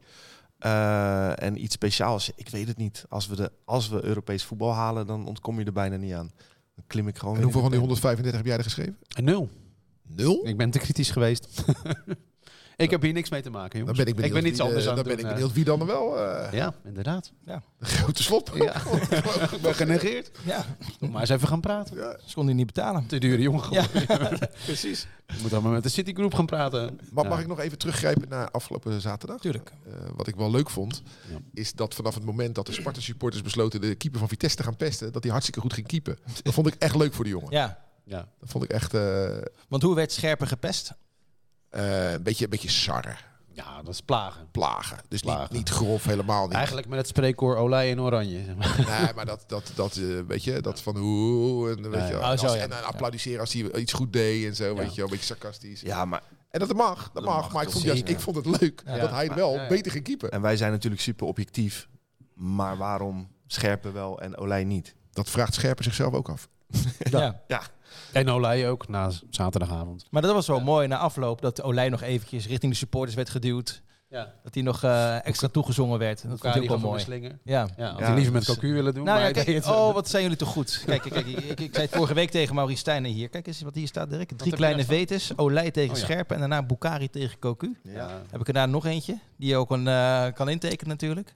Eh, en iets speciaals, ik weet het niet. Als we, de, als we Europees voetbal halen, dan ontkom je er bijna niet aan. Dan klim ik gewoon
En
weer
hoeveel van die
in de
135 heb jij er geschreven?
Een nul.
Nul?
Ik ben te kritisch geweest. <laughs> ik heb hier niks mee te maken,
Dan
jongens.
ben ik benieuwd,
ben iets
wie, eh,
anders aan
dan ben
het
ik
doen,
benieuwd wie dan er wel eh, <laughs>
Ja, inderdaad.
de grote slot. <laughs>
Ja. ik ben genegeerd.
Ja,
Maar eens even gaan praten.
ze konden niet betalen.
Te dure jongen.
Ja.
Precies. Je moet dan maar met de Citigroup gaan praten.
Maar mag
Ja.
ik nog even teruggrijpen naar afgelopen zaterdag?
Tuurlijk.
Eh, wat ik wel leuk vond,
Ja.
is dat vanaf het moment dat de Sparta-supporters besloten de keeper van Vitesse te gaan pesten, dat hij hartstikke goed ging keepen. Dat vond ik echt leuk voor die jongen.
Ja,
Ja.
Dat vond ik echt eh, eh,
want hoe werd Scherpen
<laughs>
gepest?
een beetje, een beetje sarre,
ja, dat is plagen.
plagen. Dus
Plagen.
Niet, niet grof, helemaal niet.
Eigenlijk met het spreekkoor olij en oranje. zeg maar.
Nee, maar dat, dat, dat eh, weet je, dat van hoe, en, weet
Nee.
je,
Oh,
en als-
zo, ja.
en dan applaudisseren als hij iets goed deed en zo, weet je wel, een beetje sarcastisch.
Ja, maar
En dat mag, dat, mag, maar ik
toch
vond, juist,
zeker.
ik vond het leuk dat hij
Maar-
wel
ja, ja.
beter ging keepen.
En wij zijn natuurlijk super objectief. Maar waarom Scherpen wel en Olij niet?
Dat vraagt Scherpen zichzelf ook af.
Ja.
En olij ook na z- zaterdagavond.
Maar dat was wel mooi na afloop dat Olij nog eventjes richting de supporters werd geduwd.
Ja.
Dat hij nog eh, extra toegezongen werd. Dat vond ik ook wel mooi.
Slinger.
Ja.
Ja, had
Ja,
hij liever
dat
met
is-
cocu willen doen.
Nou
maar
ja,
hij deed
kijk,
het zo.
oh, wat zijn jullie toch goed. Kijk, kijk, kijk ik, ik zei het vorige week tegen Maurice Stijn hier. Kijk eens wat hier staat, Dirk.
heb
Drie
je
kleine
daar staan?
vetes. Olij tegen
Oh, ja.
Scherpen en daarna Bukari tegen Cocu.
Ja.
Heb ik er daar nog eentje, die je ook een, eh, kan intekenen natuurlijk.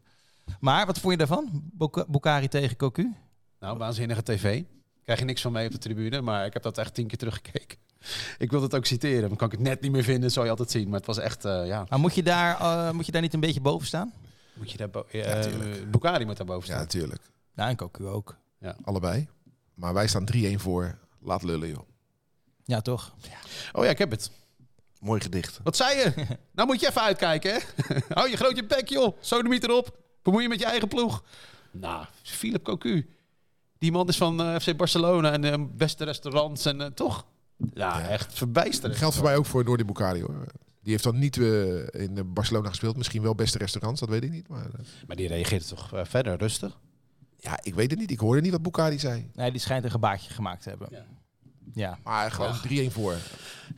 Maar wat vond je daarvan? Buk- Bukari tegen Cocu?
Nou, waanzinnige tv. Krijg je niks van mee op de tribune, maar ik heb dat echt tien keer teruggekeken. <laughs> Ik wil dat ook citeren, dan kan ik het net niet meer vinden, zou je altijd zien. Maar het was echt, eh, ja,
Maar moet je, daar, eh, moet je daar niet een beetje boven staan?
moet je daar bo-
tuurlijk.
eh, Bukari moet daar boven
Ja,
staan.
natuurlijk.
Ja, Nou, en Cocu ook.
Allebei. Maar wij staan 3-1 voor. Laat lullen, joh.
Ja, toch?
Oh ja, ik heb het.
Mooi gedicht.
Wat zei <laughs> je? nou moet je even uitkijken, hè? <laughs> Hou je groot je bek, joh. Sodemiet erop. Bemoei je met je eigen ploeg. Nou, Philip Cocu. Die man is van eh, FC Barcelona en eh, beste restaurants en eh, toch? Ja, echt verbijsterend.
Geldt voor mij ook voor Noordi Bukari, hoor. Die heeft dan niet eh, in eh, Barcelona gespeeld. Misschien wel beste restaurants, dat weet ik niet. Maar, eh,
Maar die reageert toch eh, verder rustig?
ja, ik weet het niet. Ik hoorde niet wat Bukari zei.
Nee, die schijnt een gebaartje gemaakt te hebben.
Ja.
Ja.
Maar gewoon 3-1 voor.
Ik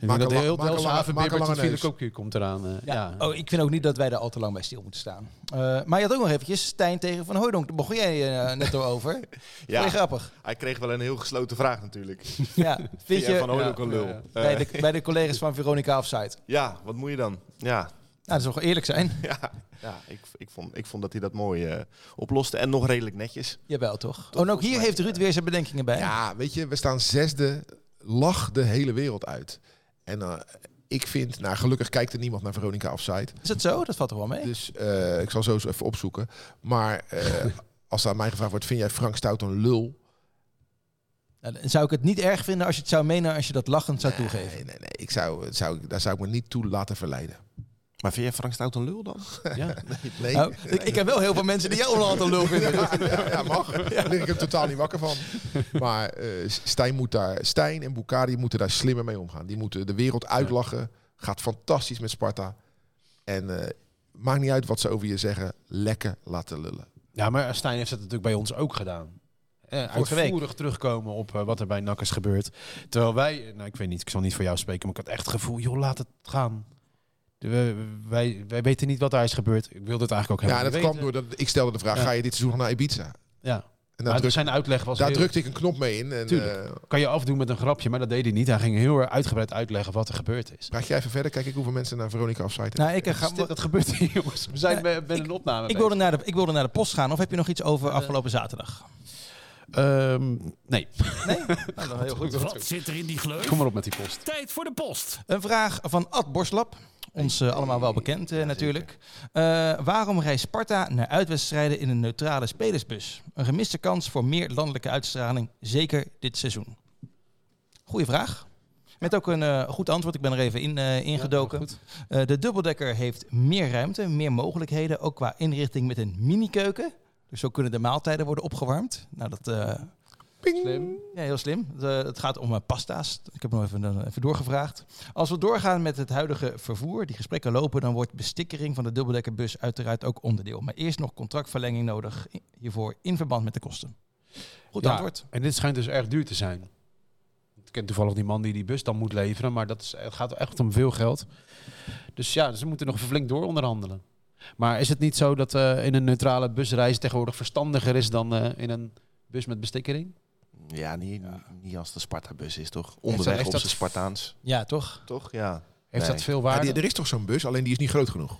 denk dat
een la-
heel
maak een lange-
Delfshaven
maak een
bibbert dat
lange
Philip
neus.
Cocu komt eraan. eh,
Ja.
ja.
Oh, ik vind ook niet dat wij daar al te lang bij stil moeten staan. Eh, maar je had ook nog eventjes Stijn tegen Van Hooydonk. Daar begon jij eh, net al over. Ja.
Ja,
grappig.
hij kreeg wel een heel gesloten vraag natuurlijk.
Ja, vind je...
Ja, van Hooydonk
ja,
een lul.
ja, ja.
Eh,
bij, de, bij de collega's van Veronica Offside.
ja, wat moet je dan? Ja,
Nou, dat is wel eerlijk zijn.
ja, ja ik, ik, vond, ik vond dat hij dat mooi eh, oploste. En nog redelijk netjes.
Jawel, toch? Oh, en ook hier heeft Ruud weer zijn bedenkingen bij.
Ja, weet je, we staan zesde. Lach de hele wereld uit. En eh, ik vind, nou gelukkig kijkt er niemand naar Veronica Offside.
Is dat zo? Dat valt er wel mee.
Dus eh, ik zal zo eens even opzoeken. Maar eh, als er aan mij gevraagd wordt, vind jij Frank Stout een lul?
Nou, dan zou ik het niet erg vinden als je het zou menen als je dat lachend zou toegeven.
Nee, nee, nee. Ik zou, zou, daar zou ik me niet toe laten verleiden.
Maar vind jij Frank Stout een lul dan?
Ja.
Nee,
Nou, ik, ik heb wel heel veel mensen die jou onderhand een lul vinden.
<laughs> ja, mag. Daar lig ik hem totaal niet wakker van. Maar eh, Stijn, moet daar, Stijn en Bukari moeten daar slimmer mee omgaan. Die moeten de wereld uitlachen. Gaat fantastisch met Sparta. En eh, maakt niet uit wat ze over je zeggen. Lekker laten lullen.
ja, maar Stijn heeft dat natuurlijk bij ons ook gedaan. Eh, uitvoerig terugkomen op eh, wat er bij NAC is gebeurd. Terwijl wij, eh, nou ik weet niet, ik zal niet voor jou spreken, maar ik had echt het gevoel, joh, laat het gaan. De- we- wij, wij weten niet wat daar is gebeurd. Ik wilde het eigenlijk ook
Ja,
helemaal
dat
niet
kwam
weten.
doordat ik stelde de vraag,
Ja.
ga je dit seizoen nog naar Ibiza?
Ja.
En daar,
Maar
druk,
zijn uitleg was
daar
heel-
drukte ik een knop mee in. En,
Tuurlijk.
eh,
kan je afdoen met een grapje, maar dat deed hij niet. Hij ging heel erg uitgebreid uitleggen wat er gebeurd is.
praat jij even verder? Kijk ik hoeveel mensen naar Veronica Offside
Nou, ik, eh,
Dat,
ga,
is dit- dat gebeurt hier, jongens. We zijn
Ja,
bij, bij een opname.
ik, wilde naar de, ik wilde naar de post gaan. Of heb je nog iets over afgelopen zaterdag?
bezig. Ehm, nee, <laughs>
heel goed.
Wat?
Wat zit er in die gleuf?
kom maar op met die post.
Tijd voor de post.
Een vraag van Ad Borslap. Ons eh, allemaal wel bekend eh, natuurlijk. Eh, waarom reist Sparta naar uitwedstrijden in een neutrale spelersbus? Een gemiste kans voor meer landelijke uitstraling, zeker dit seizoen. Goeie vraag. Met ook een eh, goed antwoord. Ik ben er even in, eh, ingedoken. Eh, de dubbeldekker heeft meer ruimte, meer mogelijkheden. Ook qua inrichting met een mini-keuken. Dus zo kunnen de maaltijden worden opgewarmd. Nou, dat eh,
Slim.
ja, heel slim. De- het gaat om eh, pasta's. Ik heb nog even, eh, even doorgevraagd. Als we doorgaan met het huidige vervoer, die gesprekken lopen, dan wordt bestikkering van de dubbeldekkerbus uiteraard ook onderdeel. Maar eerst nog contractverlenging nodig i- hiervoor in verband met de kosten. Goed
Ja,
antwoord.
En dit schijnt dus erg duur te zijn. Ik ken toevallig die man die die bus dan moet leveren, maar dat is, het gaat echt om veel geld. Dus ja, ze moeten nog flink door onderhandelen. Maar is het niet zo dat eh, in een neutrale busreis tegenwoordig verstandiger is dan eh, in een bus met bestikkering?
Ja, niet, niet als de Sparta-bus is toch?
dat-
Onderweg
heeft
op
dat-
zijn Spartaans.
Ja, toch?
Toch? Ja.
Heeft
Nee.
dat veel
Ja,
waarde?
die- er is toch zo'n bus, alleen die is niet groot
<laughs>
genoeg.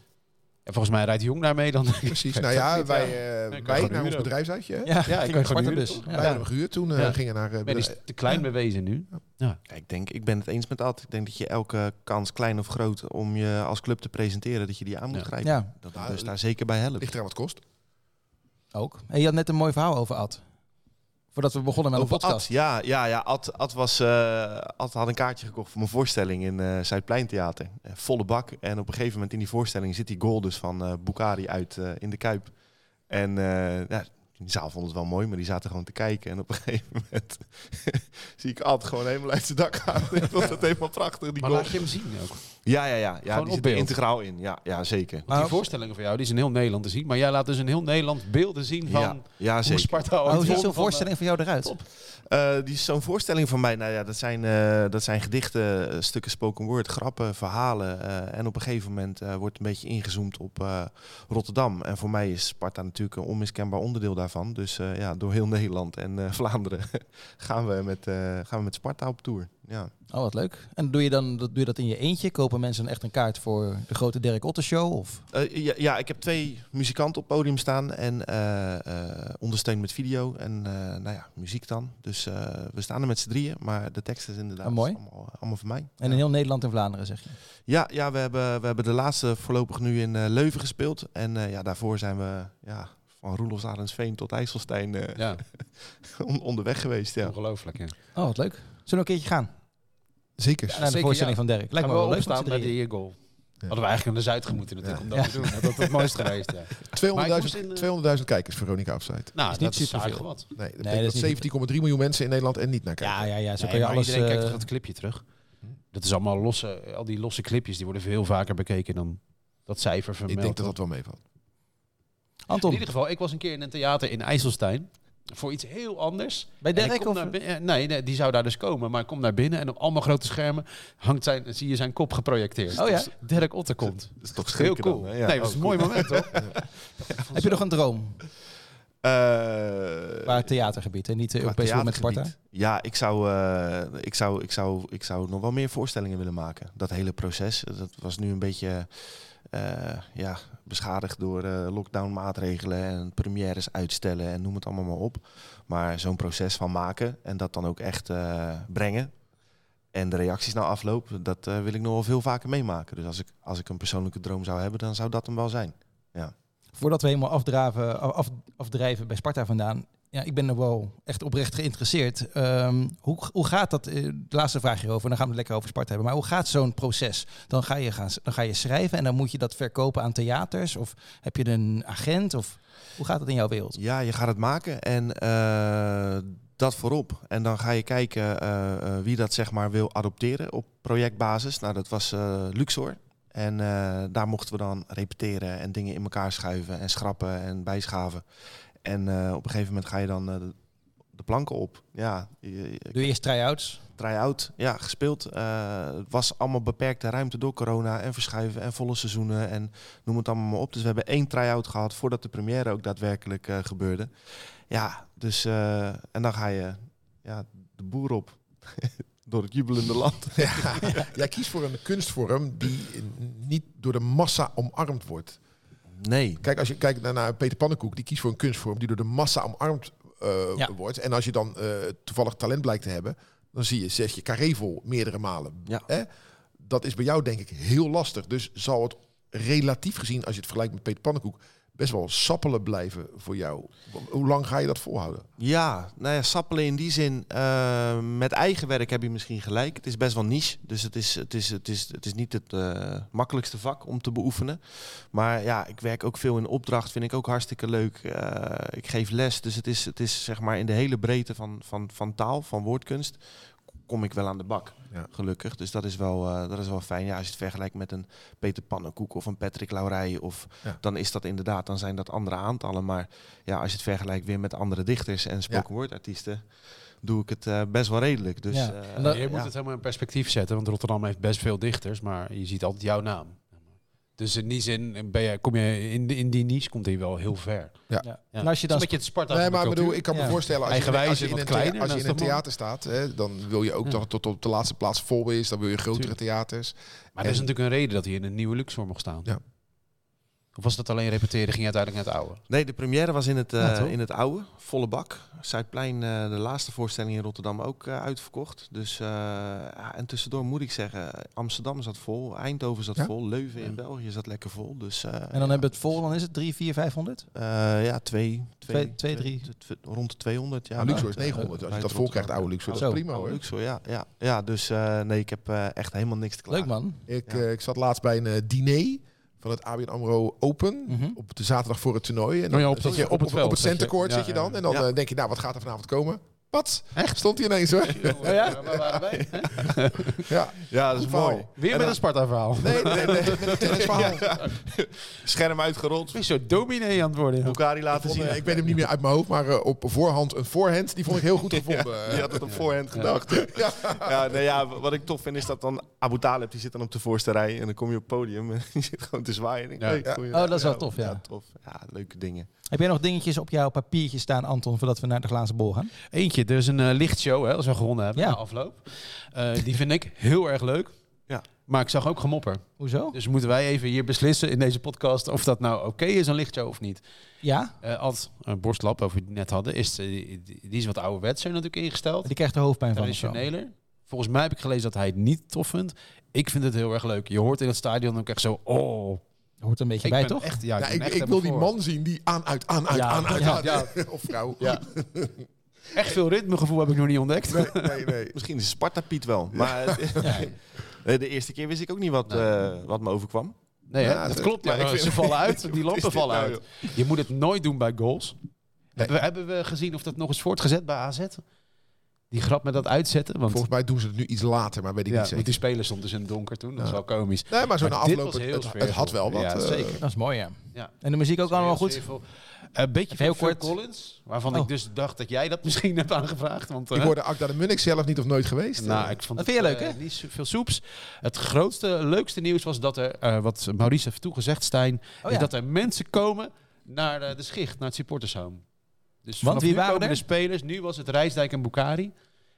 En volgens mij rijdt Jong daarmee dan. <laughs>
Precies. nou ja, wij, eh,
Nee, kan
wij
gewoon
naar ons
huren.
bedrijfsuitje. hè?
Ja,
kan je
ik
gewoon
zwarte
huren,
bus.
toch?
Wij
Ja.
hebben hem gehuurd toen eh,
Ja.
gingen naar... eh,
Nee, die
bedrijf-
is te klein bewezen nu.
Ja, Ik, denk, ik ben het eens met Ad. Ik denk dat je elke kans, klein of groot, om je als club te presenteren, dat je die aan moet
Ja.
grijpen.
Ja,
Dat
Nou,
dus daar zeker bij helpt.
Ligt eraan wat het kost.
ook. En je had net een mooi verhaal over Ad. Voordat we begonnen met een
Over Ad,
podcast.
ja, ja, ja Ad, Ad, was, eh, Ad had een kaartje gekocht voor mijn voorstelling in eh Zuidpleintheater. Eh, volle bak. En op een gegeven moment in die voorstelling zit die goal dus van eh Bukari uit eh, in de Kuip. En eh, ja, die zaal vond het wel mooi, maar die zaten gewoon te kijken. En op een <laughs> gegeven moment zie ik Ad gewoon helemaal uit zijn dak gaan. <laughs> Ik vond het helemaal prachtig, die
Maar
goal.
laat je hem zien ook.
Ja, ja, ja. ja
Gewoon
die
op
zit er
beeld.
integraal in. Ja, ja zeker.
Want
Maar-
die voorstellingen van jou, die is in heel Nederland te zien. Maar jij laat dus in heel Nederland beelden zien van
ja, ja,
hoe
zeker.
Sparta ooit
Oh, hoe ziet
won
zo'n
van, eh,
voorstelling van jou eruit?
Top.
Eh, die is zo'n voorstelling van mij. Nou ja, dat zijn, eh, dat zijn gedichten, eh, stukken spoken word, grappen, verhalen. eh, en op een gegeven moment eh, wordt een beetje ingezoomd op eh, Rotterdam. En voor mij is Sparta natuurlijk een onmiskenbaar onderdeel daarvan. Dus eh, ja, door heel Nederland en eh, Vlaanderen <laughs> gaan, we met, eh, gaan we met Sparta op tour. Ja.
Oh, wat leuk. En doe je, dan, dat- doe je dat in je eentje? Kopen mensen dan echt een kaart voor de grote Dirk Otter Show? Of?
Eh, ja, ja, ik heb twee muzikanten op het podium staan en eh, eh, ondersteund met video en eh, nou ja, muziek dan. Dus eh, we staan er met z'n drieën, maar de tekst is inderdaad
Ah, mooi.
Allemaal, eh, allemaal van mij.
En in heel Nederland en Vlaanderen, zeg je?
Ja, ja we, hebben, we hebben de laatste voorlopig nu in eh, Leuven gespeeld en eh, ja, daarvoor zijn we ja, van Roelofs-Arendsveen tot IJsselstein eh,
Ja,
<laughs> on- onderweg geweest. Ja.
ongelooflijk. Ja.
Oh, wat leuk. Zullen we een keertje gaan?
Zeker.
Naar de
zeker,
voorstelling
ja.
van Dirk.
Lijkt
Lijkt
me
me wel leuk.
opstaan
met z'n
bij
drieën.
die goal. Hadden we eigenlijk naar de Zuid moeten natuurlijk om dat
Ja.
te doen. Dat was het mooiste geweest. <laughs> Ja.
200.000
Maar ik moest in, eh,
200.000 kijkers, Veronica Offside.
Nou,
niet
dat is
superveel.
aardig wat.
Nee,
dat is
dat
niet
betekent dat 17,3 miljoen mensen in Nederland en niet naar kijken.
Ja, ja, ja. Zo
Nee,
kan je
maar
alles...
iedereen kijkt
eh,
toch dat clipje terug. Hm? Dat is allemaal losse, al die losse clipjes, die worden veel vaker bekeken dan dat cijfer vermeld.
ik denk dat
wordt.
dat wel meevalt.
In
Anton,
ieder geval, ik was een keer in een theater in IJsselstein. Voor iets heel anders.
bij
En ik
Dirk
kom
of...
naar bin- eh, nee, nee, die zou daar dus komen. Maar ik kom naar binnen en op allemaal grote schermen hangt zijn, zie je zijn kop geprojecteerd.
Oh ja?
Dus Dirk Otter komt.
Dat is toch
Heel
schrikken
cool.
dan, hè? Ja.
nee, dat was een mooi moment toch?
Heb je nog een droom?
Oh. <laughs>
Eh,
Qua theatergebied en niet eh,
qua
Europees voetbal met Sparta?
theatergebied. Ja, ik zou, eh, ik, zou, ik, zou, ik zou nog wel meer voorstellingen willen maken. Dat hele proces, eh, dat was nu een beetje eh, ja, beschadigd door eh lockdown maatregelen en premières uitstellen en noem het allemaal maar op. Maar zo'n proces van maken en dat dan ook echt eh, brengen. En de reacties na afloop, dat eh, wil ik nog wel veel vaker meemaken. Dus als ik, als ik een persoonlijke droom zou hebben, dan zou dat hem wel zijn.
Voordat we helemaal afdraven, af, af- afdrijven bij Sparta vandaan. Ja, ik ben er wel echt oprecht geïnteresseerd. Ehm, hoe, hoe gaat dat? eh, De laatste vraag hierover, dan gaan we het lekker over Sparta hebben. Maar hoe gaat zo'n proces? Dan ga, je gaan, dan ga je schrijven en dan moet je dat verkopen aan theaters. Of heb je een agent? Of hoe gaat dat in jouw wereld?
Ja, je gaat het maken en eh, dat voorop. En dan ga je kijken eh, eh, wie dat zeg maar wil adopteren op projectbasis. Nou, dat was eh, Luxor. En eh, daar mochten we dan repeteren en dingen in elkaar schuiven en schrappen en bijschaven. En eh, op een gegeven moment ga je dan eh, de- de planken op. Ja, je- je-
Doe je eerst try-outs?
try-out, ja, gespeeld. Eh, Het was allemaal beperkte ruimte door corona en verschuiven en volle seizoenen en noem het allemaal maar op. Dus we hebben één try-out gehad voordat de première ook daadwerkelijk eh, gebeurde. Ja, dus eh, en dan ga je ja, de boer op <laughs> door het jubelende land.
Jij kiest voor een kunstvorm die niet door de massa omarmd wordt.
Nee,
Kijk, als je kijkt naar, naar Peter Pannenkoek, die kiest voor een kunstvorm die door de massa omarmd eh,
Ja.
wordt. En als je dan eh, toevallig talent blijkt te hebben, dan zie je, zeg je Karevel meerdere malen.
Ja.
Hè? Dat is bij jou denk ik heel lastig. Dus zal het relatief gezien, als je het vergelijkt met Peter Pannenkoek, best wel sappelen blijven voor jou. Hoe lang ga je dat volhouden?
Ja, nou ja, sappelen in die zin. eh, met eigen werk heb je misschien gelijk. Het is best wel niche. Dus het is, het is, het is, het is niet het eh, makkelijkste vak om te beoefenen. Maar ja, ik werk ook veel in opdracht. Vind ik ook hartstikke leuk. Eh, ik geef les. Dus het is, het is zeg maar in de hele breedte van, van, van taal, van woordkunst. Kom ik wel aan de bak.
Ja.
Gelukkig. Dus dat is, wel, eh, dat is wel fijn. Ja, als je het vergelijkt met een Peter Pannenkoek of een Patrick Laurij. Of,
Ja.
Dan is dat inderdaad, dan zijn dat andere aantallen. Maar ja, als je het vergelijkt weer met andere dichters en spoken word artiesten, doe ik het eh, best wel redelijk. Dus,
Ja.
eh,
En dat-
je moet
ja.
het helemaal in perspectief zetten, want Rotterdam heeft best veel dichters, maar je ziet altijd jouw naam. Dus in die zin ben je, kom je in, in die niche komt hij wel heel ver.
Ja.
Ja.
En als je dan...
Het is een beetje het Sparta
Nee,
van de
maar ik
cultuur.
bedoel, ik kan me
Ja.
voorstellen als je, in-
Eigenwijs
als je
en
in
wat
een, thea-
kleiner,
als je
dat
in
is
een
toch mooi?
theater staat, hè, dan wil je ook
Ja.
dat het tot op de laatste plaats vol is. Dan wil je grotere theaters.
Maar er is natuurlijk een reden dat hij in een nieuwe Luxor mocht staan.
Ja.
Of was dat alleen repeteren, ging uiteindelijk naar het oude?
Nee, de première was in het, eh,
Ja, toch?
in het oude, volle bak. Zuidplein, eh, de laatste voorstelling in Rotterdam ook eh, uitverkocht. Dus, eh, ja, en tussendoor moet ik zeggen, Amsterdam zat vol, Eindhoven zat
Ja?
vol, Leuven in België zat lekker vol. Dus, eh,
En dan hebben we het vol, dan is het 3, 4, 500?
eh, ja, twee,
Twee- twee, drie.
t- t- rond de 200. Ja,
Ja, Luxor is
Bij het, eh,
900. Als
bij
je
het
dat vol krijgt,
Rotterdam.
oude Luxor, dat is
Zo.
prima
Oude
hoor.
Luxor, ja, ja, ja. Dus eh, nee, ik heb eh, echt helemaal niks te klagen.
Leuk man.
Ik,
Ja.
eh, ik zat laatst bij een eh, diner van het ABN AMRO Open.
Mhm.
Op de zaterdag voor het toernooi. En dan
Oh ja, op
zit
het-
je
op het veld,
op het
zeg je.
centercourt
Ja,
zit je dan.
ja.
En dan
Ja.
eh, denk je, nou, wat gaat er vanavond komen? Wat? Echt? Stond hij ineens
<laughs>
hoor.
Oh ja?
ja.
Ja, dat is
Goed verhaal.
mooi.
Weer met een Sparta-verhaal.
Nee, nee, nee. <laughs> Met een tennisverhaal.
Scherm uitgerold.
Ik zo dominee aan het worden.
Bukari laten
Vond,
zien.
eh, ik weet hem niet meer uit mijn hoofd, maar eh, op voorhand een voorhand, die vond ik heel
<laughs>
goed gevonden. Eh,
Ja, die had het op voorhand gedacht. Ja. <laughs> Ja, nee, ja, wat ik tof vind is dat dan Abu Talib, die zit dan op de voorste rij. En dan kom je op het podium en <laughs> die zit gewoon te zwaaien. Ik denk,
Ja.
hey, goeie-
Oh, dat is wel tof, ja.
tof. Ja, leuke dingen.
Heb jij nog dingetjes op jouw papiertje staan, Anton, voordat we naar de glazen bol gaan?
Eentje, er is een eh, lichtshow hè, als we gewonnen hebben
Ja.
na afloop. Eh, die vind ik heel erg leuk.
Ja.
Maar ik zag ook gemopper.
Hoezo?
Dus moeten wij even hier beslissen in deze podcast of dat nou oké is, een lichtshow of niet.
Ja?
Eh Ad, een borstlap over die we net hadden, is, eh, die, die is wat ouderwetser natuurlijk ingesteld.
Die krijgt er hoofdpijn van. of zo.
Traditioneler. Volgens mij heb ik gelezen dat hij het niet tof vindt. Ik vind het heel erg leuk. Je hoort in het stadion ook echt zo, oh.
Hoort er een beetje
Ik
bij,
ben
toch?
echt, ja,
Ja,
ben
ik,
echt
ik wil die
ervoor.
man zien die aan, uit, aan, uit,
Ja,
aan, uit,
ja,
aan.
ja.
<laughs> Of vrouw.
Ja.
Echt veel ritmegevoel heb ik nog niet ontdekt.
Nee, nee, nee.
<laughs> Misschien is Sparta Piet wel.
<laughs>
Maar Eh, de eerste keer wist ik ook niet wat, eh, wat me overkwam.
<laughs> Nee, hè?
Ja,
dat
dat-
klopt. Ja,
maar ik
Nou,
vind-
ze vallen
<laughs>
uit, die lampen
dit
vallen
nou,
uit. Je moet het nooit doen bij goals. Hebben, we, hebben we gezien of dat nog eens voortgezet bij AZ? Die grap met dat uitzetten. Want,
Volgens mij doen ze het nu iets later, maar weet ik
ja,
niet
want die
zeker.
spelers stonden dus in het donker toen. Dat is
Ja.
wel komisch.
Nee, maar zo
Maar
na
dit
afloop,
was heel
het, het
sfeervol.
had wel wat.
Ja,
eh,
zeker.
Dat is mooi, ja.
Ja.
En de muziek ook allemaal
Heel
goed?
zinvol. Een Eh, beetje
Even heel
heel kort.
kort.
Collins, waarvan
Oh.
ik dus dacht dat jij dat <laughs> misschien hebt aangevraagd. Want,
Ik
eh,
hoorde Akda de Munnik zelf niet of nooit geweest.
nou, ik vond
Dat
het,
vind je leuk,
eh,
hè?
Niet zo- veel soeps. Het grootste, leukste nieuws was dat er, eh, wat Maurice heeft toegezegd, Stijn,
Oh,
is
ja.
dat er mensen komen naar eh, de schicht, naar het supportershome. Dus
Want
vanaf
wie
nu
waren
komen
er?
de spelers. Nu was het Rijsdijk en Bukari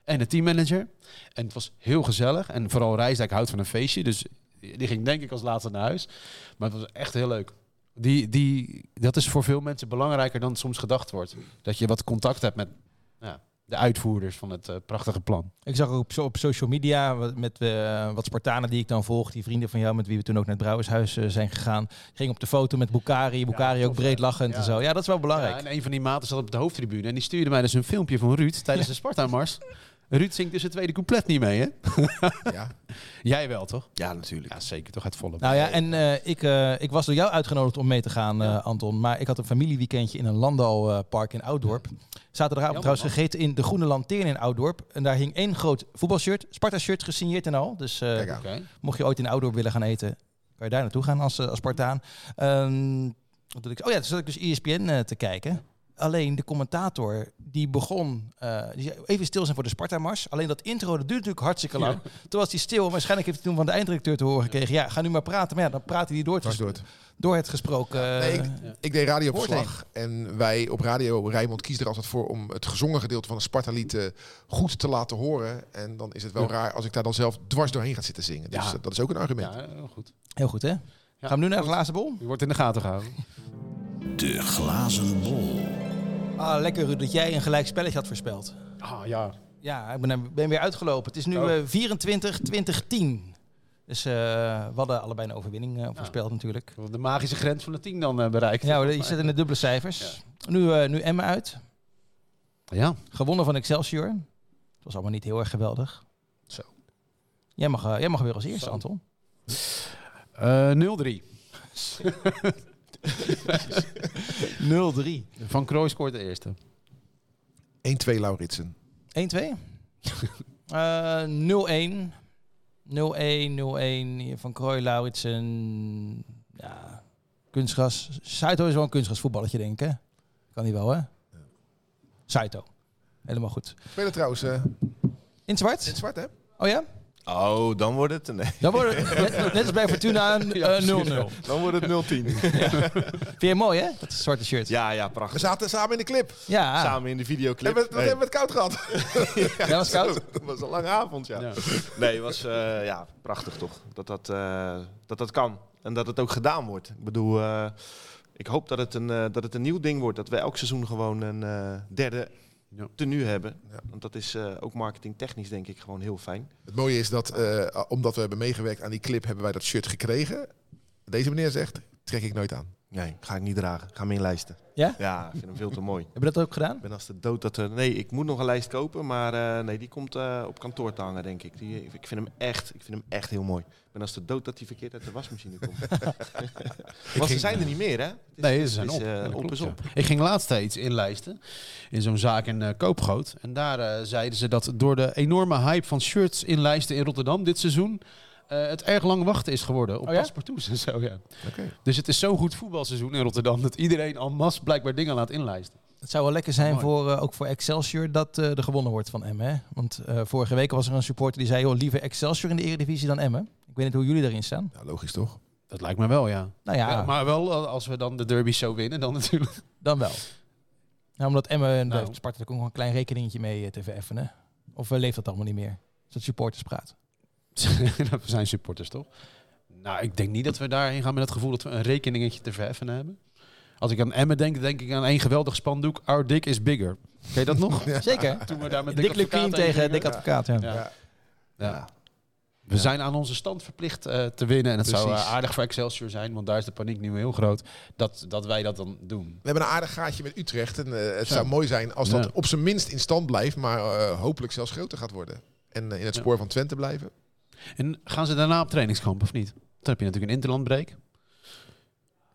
en de teammanager. En het was heel gezellig. En vooral Rijsdijk houdt van een feestje, dus die ging denk ik als laatste naar huis. Maar het was echt heel leuk. Die, die, dat is voor veel mensen belangrijker dan soms gedacht wordt. Dat je wat contact hebt met ja, de uitvoerders van het eh, prachtige plan.
Ik zag ook op, so- op social media wat- met eh, wat Spartanen die ik dan volg, die vrienden van jou met wie we toen ook naar het Brouwershuis eh, zijn gegaan, ging op de foto met Bukari. Bukari ook
tof,
breed
hè?
lachend
Ja.
en zo. Ja, dat is wel belangrijk.
Ja, en een van die maten zat op de hoofdtribune en die stuurde mij dus een filmpje van Ruud tijdens de Sparta-mars. Ruud zingt dus het tweede couplet niet mee, hè?
ja.
Jij wel, toch?
Ja, natuurlijk.
Ja, zeker. Toch uit volle.
Nou ja, en eh, ik, eh, ik was door jou uitgenodigd om mee te gaan, eh, Anton. Maar ik had een familieweekendje in een landbouwpark in Ouddorp. Zaterdagavond
Jammer,
trouwens
man.
gegeten in de Groene Lanteern in Ouddorp. En daar hing één groot voetbalshirt, Sparta-shirt gesigneerd en al. Dus eh,
Kijk aan.
Oké.
mocht je ooit in Ouddorp willen gaan eten, kan je daar naartoe gaan als, eh, als Spartaan. Ehm, wat doe ik? Oh ja, toen zat ik dus ESPN eh, te kijken. Alleen de commentator die begon, eh, die zei, even stil zijn voor de Sparta-mars. Alleen dat intro, dat duurt natuurlijk hartstikke lang. Toen was hij stil, waarschijnlijk heeft hij toen van de einddirecteur te horen gekregen. Ja, ga nu maar praten. Maar ja, dan praat hij die door het,
Dwars door
gesproken-
het.
door het gesproken.
Nee, ik,
eh,
ik deed
Woord
radioverslag. En wij op Radio Rijnmond kiezen er altijd voor om het gezongen gedeelte van een Sparta-lied eh, goed te laten horen. En dan is het wel raar als ik daar dan zelf dwars doorheen ga zitten zingen. Dus
Ja.
eh, dat is ook een argument.
Ja, heel goed.
Heel goed, hè? Gaan we nu naar de laatste bol?
Je wordt in de gaten gehouden.
De glazen bol.
Ah, lekker Ruud, dat jij een gelijk spelletje had voorspeld.
Ah ja.
Ja, ik ben, ben weer uitgelopen. Het is nu
Oh.
eh 24, 2010. Dus eh, we hadden allebei een overwinning eh, voorspeld natuurlijk.
De magische grens van de 10 dan eh, bereikt.
Ja, je zit in de dubbele cijfers. Nu, eh, nu Emma uit.
Ja.
Gewonnen van Excelsior. Het was allemaal niet heel erg geweldig.
Zo.
Jij mag, eh, jij mag weer als eerste,
Zo.
Anton.
<laughs> Eh 0-3. <laughs>
0-3.
Van Krooi scoort de eerste.
1-2 Lauritsen. <laughs>
1-2. Eh 0-1. 0-1, 0-1. Van Krooi, Lauritsen. Ja, kunstgras. Saito is wel een kunstgrasvoetballetje, denk ik. Hè? Kan hij wel, hè? Saito. Helemaal goed.
Spelen trouwens eh,
In het
in het
zwart?
zwart, hè?
Oh ja?
Oh, dan wordt het... Nee,
Dan wordt
<laughs>
het, net, net als bij Fortuna een, eh, 0-0.
dan wordt het 0-10.
Vind je het mooi, hè? Dat zwarte shirt. Ja,
<laughs> ja, ja,
We
prachtig.
zaten samen in de clip.
Samen in de videoclip.
Hebben we,
Nee.
hebben we het koud gehad?
Ah.
<laughs>
dat was koud.
Dat was een lange avond, ja.
Ja.
Nee, het was eh, ja, prachtig toch. Dat dat, eh, dat dat kan. En dat het ook gedaan wordt. Ik bedoel, eh, ik hoop dat het, een, eh, dat het een nieuw ding wordt. Dat we elk seizoen gewoon een eh, derde
Ja.
tenue hebben.
Ja.
Want dat is eh, ook marketingtechnisch denk ik gewoon heel fijn.
Het mooie is dat, eh, omdat we hebben meegewerkt aan die clip, hebben wij dat shirt gekregen. Deze meneer zegt, trek ik nooit aan.
Nee, ga ik niet dragen. Ga me inlijsten.
Ja?
Ja, ik vind hem veel te mooi.
Heb je dat ook gedaan?
Ik ben als de dood dat er... Nee, ik moet nog een lijst kopen. Maar eh, nee, die komt eh, op kantoor te hangen, denk ik. Die, eh, ik, vind hem echt, ik vind hem echt heel mooi. Ik ben als de dood dat hij verkeerd uit de wasmachine komt. Want ze zijn er niet meer, hè? Het is-
Nee, ze
het
zijn
is,
op.
eh,
Ja, dat
op
klopt,
is
ja.
op.
Ik ging laatst eh, iets inlijsten in zo'n zaak in eh, Koopgoot. En daar eh, zeiden ze dat door de enorme hype van shirts inlijsten in Rotterdam dit seizoen... eh, het erg lang wachten is geworden op
Oh ja?
paspartouts en zo, ja.
Oké.
Dus het is zo'n goed voetbalseizoen in Rotterdam... dat iedereen en masse blijkbaar dingen laat inlijsten.
Het zou wel lekker zijn
Mooi.
voor, eh, ook voor Excelsior dat eh, er gewonnen wordt van Emmen. hè? Want eh, vorige week was er een supporter die zei, joh, liever Excelsior in de Eredivisie dan Emmen. Ik weet niet hoe jullie daarin staan.
Nou, logisch toch?
Dat lijkt me wel, ja.
Nou ja,
Ja, maar wel eh, als we dan de derby zo winnen, dan natuurlijk.
dan wel. Nou, omdat Emmen en
Nou.
Sparta daar ook nog een klein rekeningetje mee eh, te vereffenen. Of eh, leeft dat allemaal niet meer? Is dat
<laughs>
supporterspraat?
dat zijn supporters toch? Nou, ik denk niet dat we daarheen gaan met het gevoel dat we een rekeningetje te verheffen hebben. Als ik aan Emmen denk, denk ik aan één geweldig spandoek. Our dick is bigger. Ken je dat
<laughs>
nog?
Zeker.
Toen we daar met
Dick
Advocaat
Lukien
heen
tegen
gingen.
Dick Advocaat, ja.
Ja. Ja.
Ja.
We zijn aan onze stand verplicht eh, te winnen. En het zou
Precies.
eh, aardig voor Excelsior zijn, want daar is de paniek nu heel groot. Dat, dat wij dat dan doen.
We hebben een aardig gaatje met Utrecht. En eh, het zou mooi zijn als dat
Ja.
op zijn minst in stand blijft. Maar eh, hopelijk zelfs groter gaat worden. En eh, in het spoor van Twente blijven.
En gaan ze daarna op trainingskamp of niet? Dan heb je natuurlijk een interlandbreak.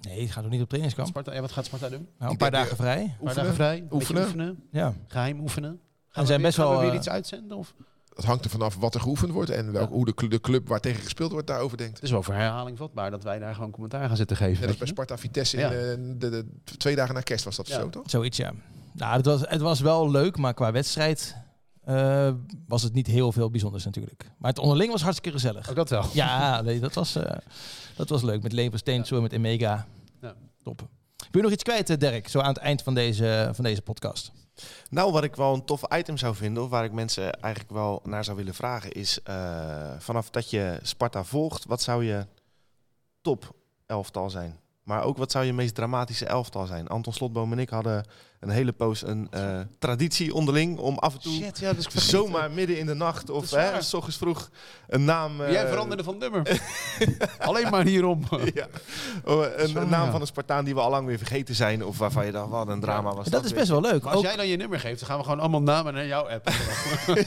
Nee, het gaat nog niet op trainingskamp.
Sparta, ja, wat gaat Sparta doen?
Nou, een
Ik
paar
denk,
dagen vrij.
Oefenen.
Oefenen.
vrij, een beetje
Oefenen.
oefenen,
Ja.
geheim oefenen.
En zijn
we weer-
best wel,
we weer
eh,
iets uitzenden? Of?
Dat hangt er vanaf wat er geoefend wordt. En welk,
Ja.
hoe de, cl- de club waar tegen gespeeld wordt daarover denkt.
Het is wel voor herhaling vatbaar dat wij daar gewoon commentaar gaan zitten
Net
geven.
als bij
weet je.
Sparta Vitesse.
Ja.
In, eh, de, de- twee dagen na kerst was dat
Ja.
zo, toch?
Zoiets, ja. Nou, het was, het was wel leuk, maar qua wedstrijd eh, was het niet heel veel bijzonders natuurlijk. Maar het onderling was hartstikke gezellig.
Ook dat wel.
Ja, nee, dat, was, eh, dat was leuk. Met Lever Steensel, met Emega.
Ja.
Top. Wil je nog iets kwijt, eh, Dirk? Zo aan het eind van deze, van deze podcast.
Nou, wat ik wel een tof item zou vinden, of waar ik mensen eigenlijk wel naar zou willen vragen, is eh, vanaf dat je Sparta volgt, wat zou je top elftal zijn? Maar ook wat zou je meest dramatische elftal zijn? Anton Slotboom en ik hadden een hele poos een eh, traditie onderling om af en toe
Shit, ja, dus
zomaar midden in de nacht of
Dat is
hè,
waar.
s ochtends vroeg een naam. eh,
Jij veranderde van nummer. Alleen maar hierom.
<laughs> ja, oh, een
Zwaar,
naam
ja.
van een Spartaan die we al lang weer vergeten zijn, of waarvan je dacht, wat een drama was.
Dat, is best wel leuk.
Maar als
Ook,
jij dan je nummer geeft, dan gaan we gewoon allemaal namen naar jouw app.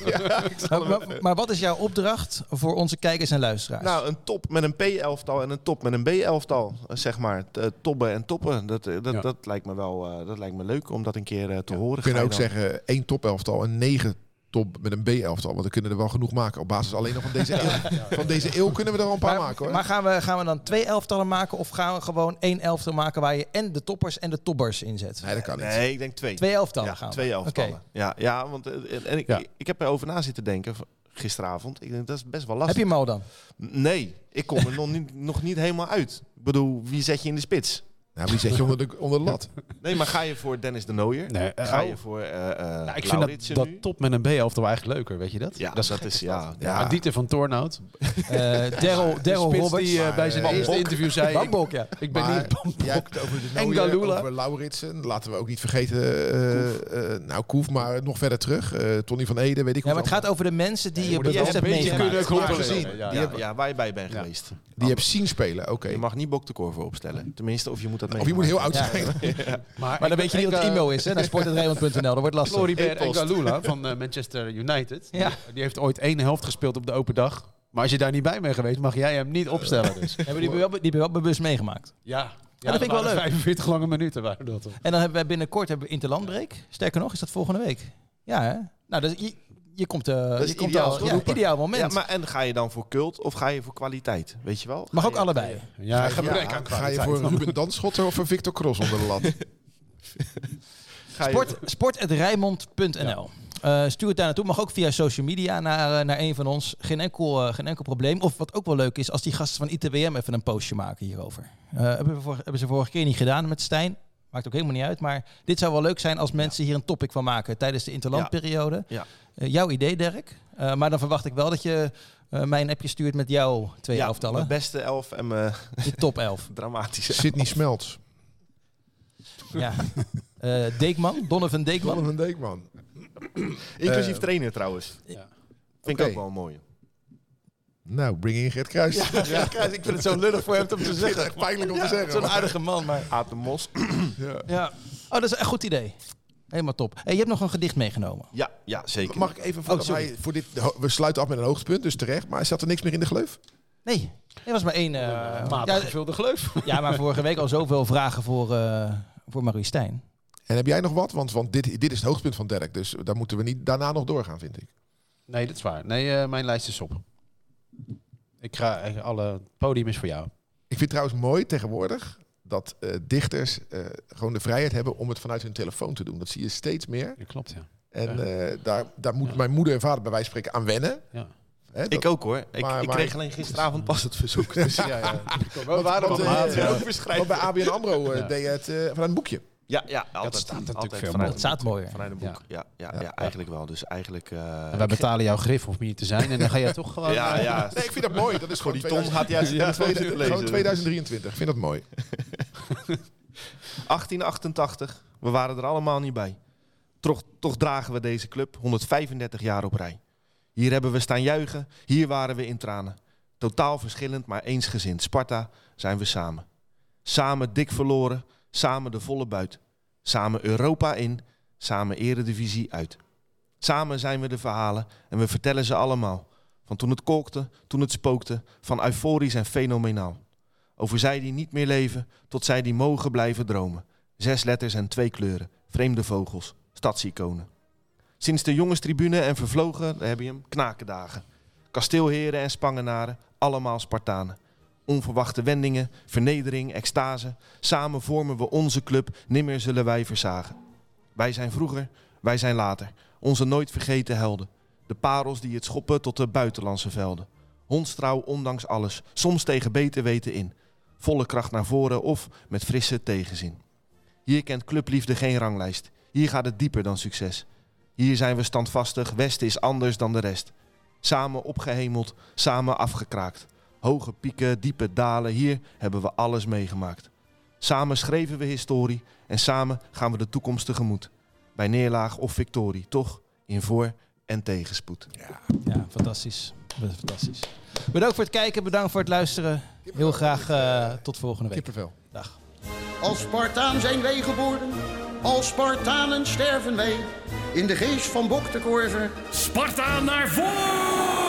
maar, <laughs> maar- maar wat is jouw opdracht voor onze kijkers en luisteraars?
Nou, een top met een P-elftal en een top met een B-elftal, eh, zeg maar. T- eh, Tobben en toppen, dat, eh, dat,
Ja.
dat lijkt me wel eh, dat lijkt me leuk om dat een keer eh, te horen.
We kunnen
Ga
nou ook
je dan-
zeggen eh, één topelftal en negen top met een B-elftal. Want we kunnen er wel genoeg maken. Op basis alleen nog van deze eeuw. Van deze eeuw kunnen we er al een paar
maar,
maken hoor.
maar gaan, we, gaan we dan twee elftallen maken of gaan we gewoon één elftal maken waar je en de toppers en de toppers in zet?
nee, dat kan niet.
Nee, ik denk twee.
Twee elftallen
ja,
gaan we.
twee elftallen.
Oké.
Ja, ja, want eh, en, en ik,
Ja.
ik heb erover na zitten denken v- gisteravond. Ik denk dat is best wel
Heb
lastig.
je hem al
<laughs>
dan?
Nee, ik kom er nog niet, <laughs> nog niet helemaal uit. Ik bedoel, wie zet je in de spits?
Nou, wie zet je onder de, onder de lat?
Nee, maar ga je voor Dennis de
<laughs>
Nooier?
Nee, eh,
ga
oh.
je voor eh eh
Nou, ik vind
Lauritsen
dat,
nu?
dat top met een B-elftal eigenlijk leuker, weet je dat?
Ja,
dat is,
dat
gek,
is- ja,
dat? Maar Dieter van Tornout,
Eh Daryl
de
Daryl
spits
Roberts.
die eh, bij zijn
Maar, eh,
eerste
Bambok.
interview zei... ik-
Bambok, ja.
Ik ben
Maar
niet Bambok.
jij hebt het over de Nooier,
Engalula.
over Lauritsen. Laten we ook niet vergeten. eh, eh, nou, Koef, maar nog verder terug. Eh, Tony van Ede, weet ik
Ja, maar
hoe
het gaat over de mensen die
Ja,
je
je moet het
bewust
wel
hebt
een beetje
meegemaakt.
kunnen
Maar
controleren.
gezien,
Ja,
ja,
ja.
ja, waar je bij bent
Ja.
geweest.
Die heb zien spelen, oké.
Je mag niet Bok de Korver opstellen. Tenminste, of je moet dat mee.
Of je moet heel oud
Ja.
zijn. <laughs>
Maar dan weet je niet wat
eh,
e-mail.
IMO is, hè? Naar sportredmond.nl, dat wordt lastig.
Floribert
E-post.
Engalula van eh, Manchester United. Die-
Ja.
Die, heeft ooit één helft gespeeld op de open dag. Maar als je daar niet bij bent geweest, mag jij hem niet opstellen. Dus.
Hebben die, wel, die hebben wel bewust meegemaakt.
Ja. ja,
vind ik wel
waren
leuk.
45 lange minuten waren dat. hoor.
En dan hebben wij binnenkort hebben we Interlandbreek. Sterker nog, is dat volgende week. Ja, hè? Nou, dus je, je komt, eh,
is
je komt
ideaal,
al.
toch?
Ja, ideaal moment.
Ja, maar en ga je dan voor cult of ga je voor kwaliteit? Weet je wel?
Mag
Ga
ook
je-
allebei.
Ja, gebrek
Ja,
aan
ga je
kwaliteit.
voor Ruben Danschotter of voor Victor Cross onder de lat?
Ga je-
Sport, sport.rijmond.nl. Eh, stuur het daar naartoe. Mag ook via social media naar, eh, naar een van ons. Geen enkel, eh, geen enkel probleem. Of wat ook wel leuk is, als die gasten van ITWM even een postje maken hierover. Eh, hebben, we vor- hebben ze vorige keer niet gedaan met Stijn. Maakt ook helemaal niet uit. Maar dit zou wel leuk zijn als mensen hier een topic van maken tijdens de interlandperiode.
Ja.
Eh, jouw idee, Dirk. Eh, maar dan verwacht ik wel dat je eh, mij een appje stuurt met jouw twee
ja,
elftallen.
Mijn beste elf en mijn <laughs>
Je top elf.
dramatische.
Sydney Smelts.
<laughs>
ja. Eh, Deekman, Donovan Deekman.
Donovan Deekman.
Inclusief
Eh,
trainer trouwens.
Ja.
Vind
Oké.
ik ook wel mooi.
Nou, breng in Gert Kruis. Ja,
ik vind het zo lullig voor hem om <laughs> te
dat is echt pijnlijk om te zeggen.
Zo'n aardige man, maar...
Aad de Mos.
Ja. Oh, dat is een goed idee. Helemaal top. Hey, je hebt nog een gedicht meegenomen.
Ja, ja, zeker.
Mag ik even voordat
sorry.
wij voor dit, we sluiten af met een hoogtepunt, dus terecht. Maar zat er niks meer in de gleuf?
Nee, er was maar één. eh,
Matig
ja,
gevulde gleuf. <laughs>
ja, maar vorige week al zoveel vragen voor, eh voor Marie Stijn.
En heb jij nog wat? Want, want dit, dit is het hoogtepunt van Dirk. Dus daar moeten we niet daarna nog doorgaan, vind ik.
Nee, dat is waar. Nee, eh, mijn lijst is op. Ik ga, eh, alle podium is voor jou.
Ik vind trouwens mooi tegenwoordig dat eh, dichters eh, gewoon de vrijheid hebben om het vanuit hun telefoon te doen. Dat zie je steeds meer.
Dat klopt, ja.
En
Ja.
eh, daar, daar moet
Ja.
mijn moeder en vader bij wijze van spreken aan wennen.
Ja.
Hè, dat-
Ik
<laughs>
ook hoor. Ik,
Maar-
ik
maar-
kreeg alleen gisteravond pas het verzoek. Dus ja, ja.
We waren
want,
op
eh,
maat, ja.
Ook
want
beschrijven.
bij ABN AMRO eh,
Ja.
deed je het eh, vanuit een boekje.
Ja, ja, altijd.
staat natuurlijk
altijd
veel
vanuit
Dat staat mooier.
Vanuit een boek. Ja, ja, ja,
Ja.
eigenlijk wel. Dus eigenlijk... eh,
En Wij betalen jouw grif om hier te zijn en dan ga jij toch gewoon...
Ja,
eh,
ja.
Nee, ik vind dat mooi. Dat is
Voor
gewoon
die ton gaat hij uit zijn telefoon
2000,
zitten
gewoon
lezen.
2023. Ik vind dat mooi.
1888, we waren er allemaal niet bij. Toch, toch dragen we deze club 135 jaar op rij. Hier hebben we staan juichen, hier waren we in tranen. Totaal verschillend, maar eensgezind. Sparta zijn we samen. Samen dik verloren, samen de volle buit. Samen Europa in, samen Eredivisie uit. Samen zijn we de verhalen en we vertellen ze allemaal. Van toen het kolkte, toen het spookte, van euforisch en fenomenaal. Over zij die niet meer leven, tot zij die mogen blijven dromen. Zes letters en twee kleuren, vreemde vogels, stadsiconen. Sinds de jongenstribune en vervlogen, daar heb je hem, knakendagen. Kasteelheren en spangenaren, allemaal Spartanen. Onverwachte wendingen, vernedering, extase. Samen vormen we onze club, nimmer zullen wij versagen. Wij zijn vroeger, wij zijn later. Onze nooit vergeten helden. De parels die het schoppen tot de buitenlandse velden. Hondstrouw ondanks alles, soms tegen beter weten in. Volle kracht naar voren of met frisse tegenzin. Hier kent clubliefde geen ranglijst. Hier gaat het dieper dan succes. Hier zijn we standvastig, Westen is anders dan de rest. Samen opgehemeld, samen afgekraakt. Hoge pieken, diepe dalen, hier hebben we alles meegemaakt. Samen schreven we historie en samen gaan we de toekomst tegemoet. Bij neerlaag of victorie, toch in voor- en tegenspoed.
Ja, fantastisch. Dat is Fantastisch. Bedankt voor het kijken, bedankt voor het luisteren. Heel graag eh, tot volgende week.
Kippenvel.
Dag.
Als Spartaan zijn wij geboren, als Spartanen sterven wij. In de geest van Bok de Korver
Sparta naar voren!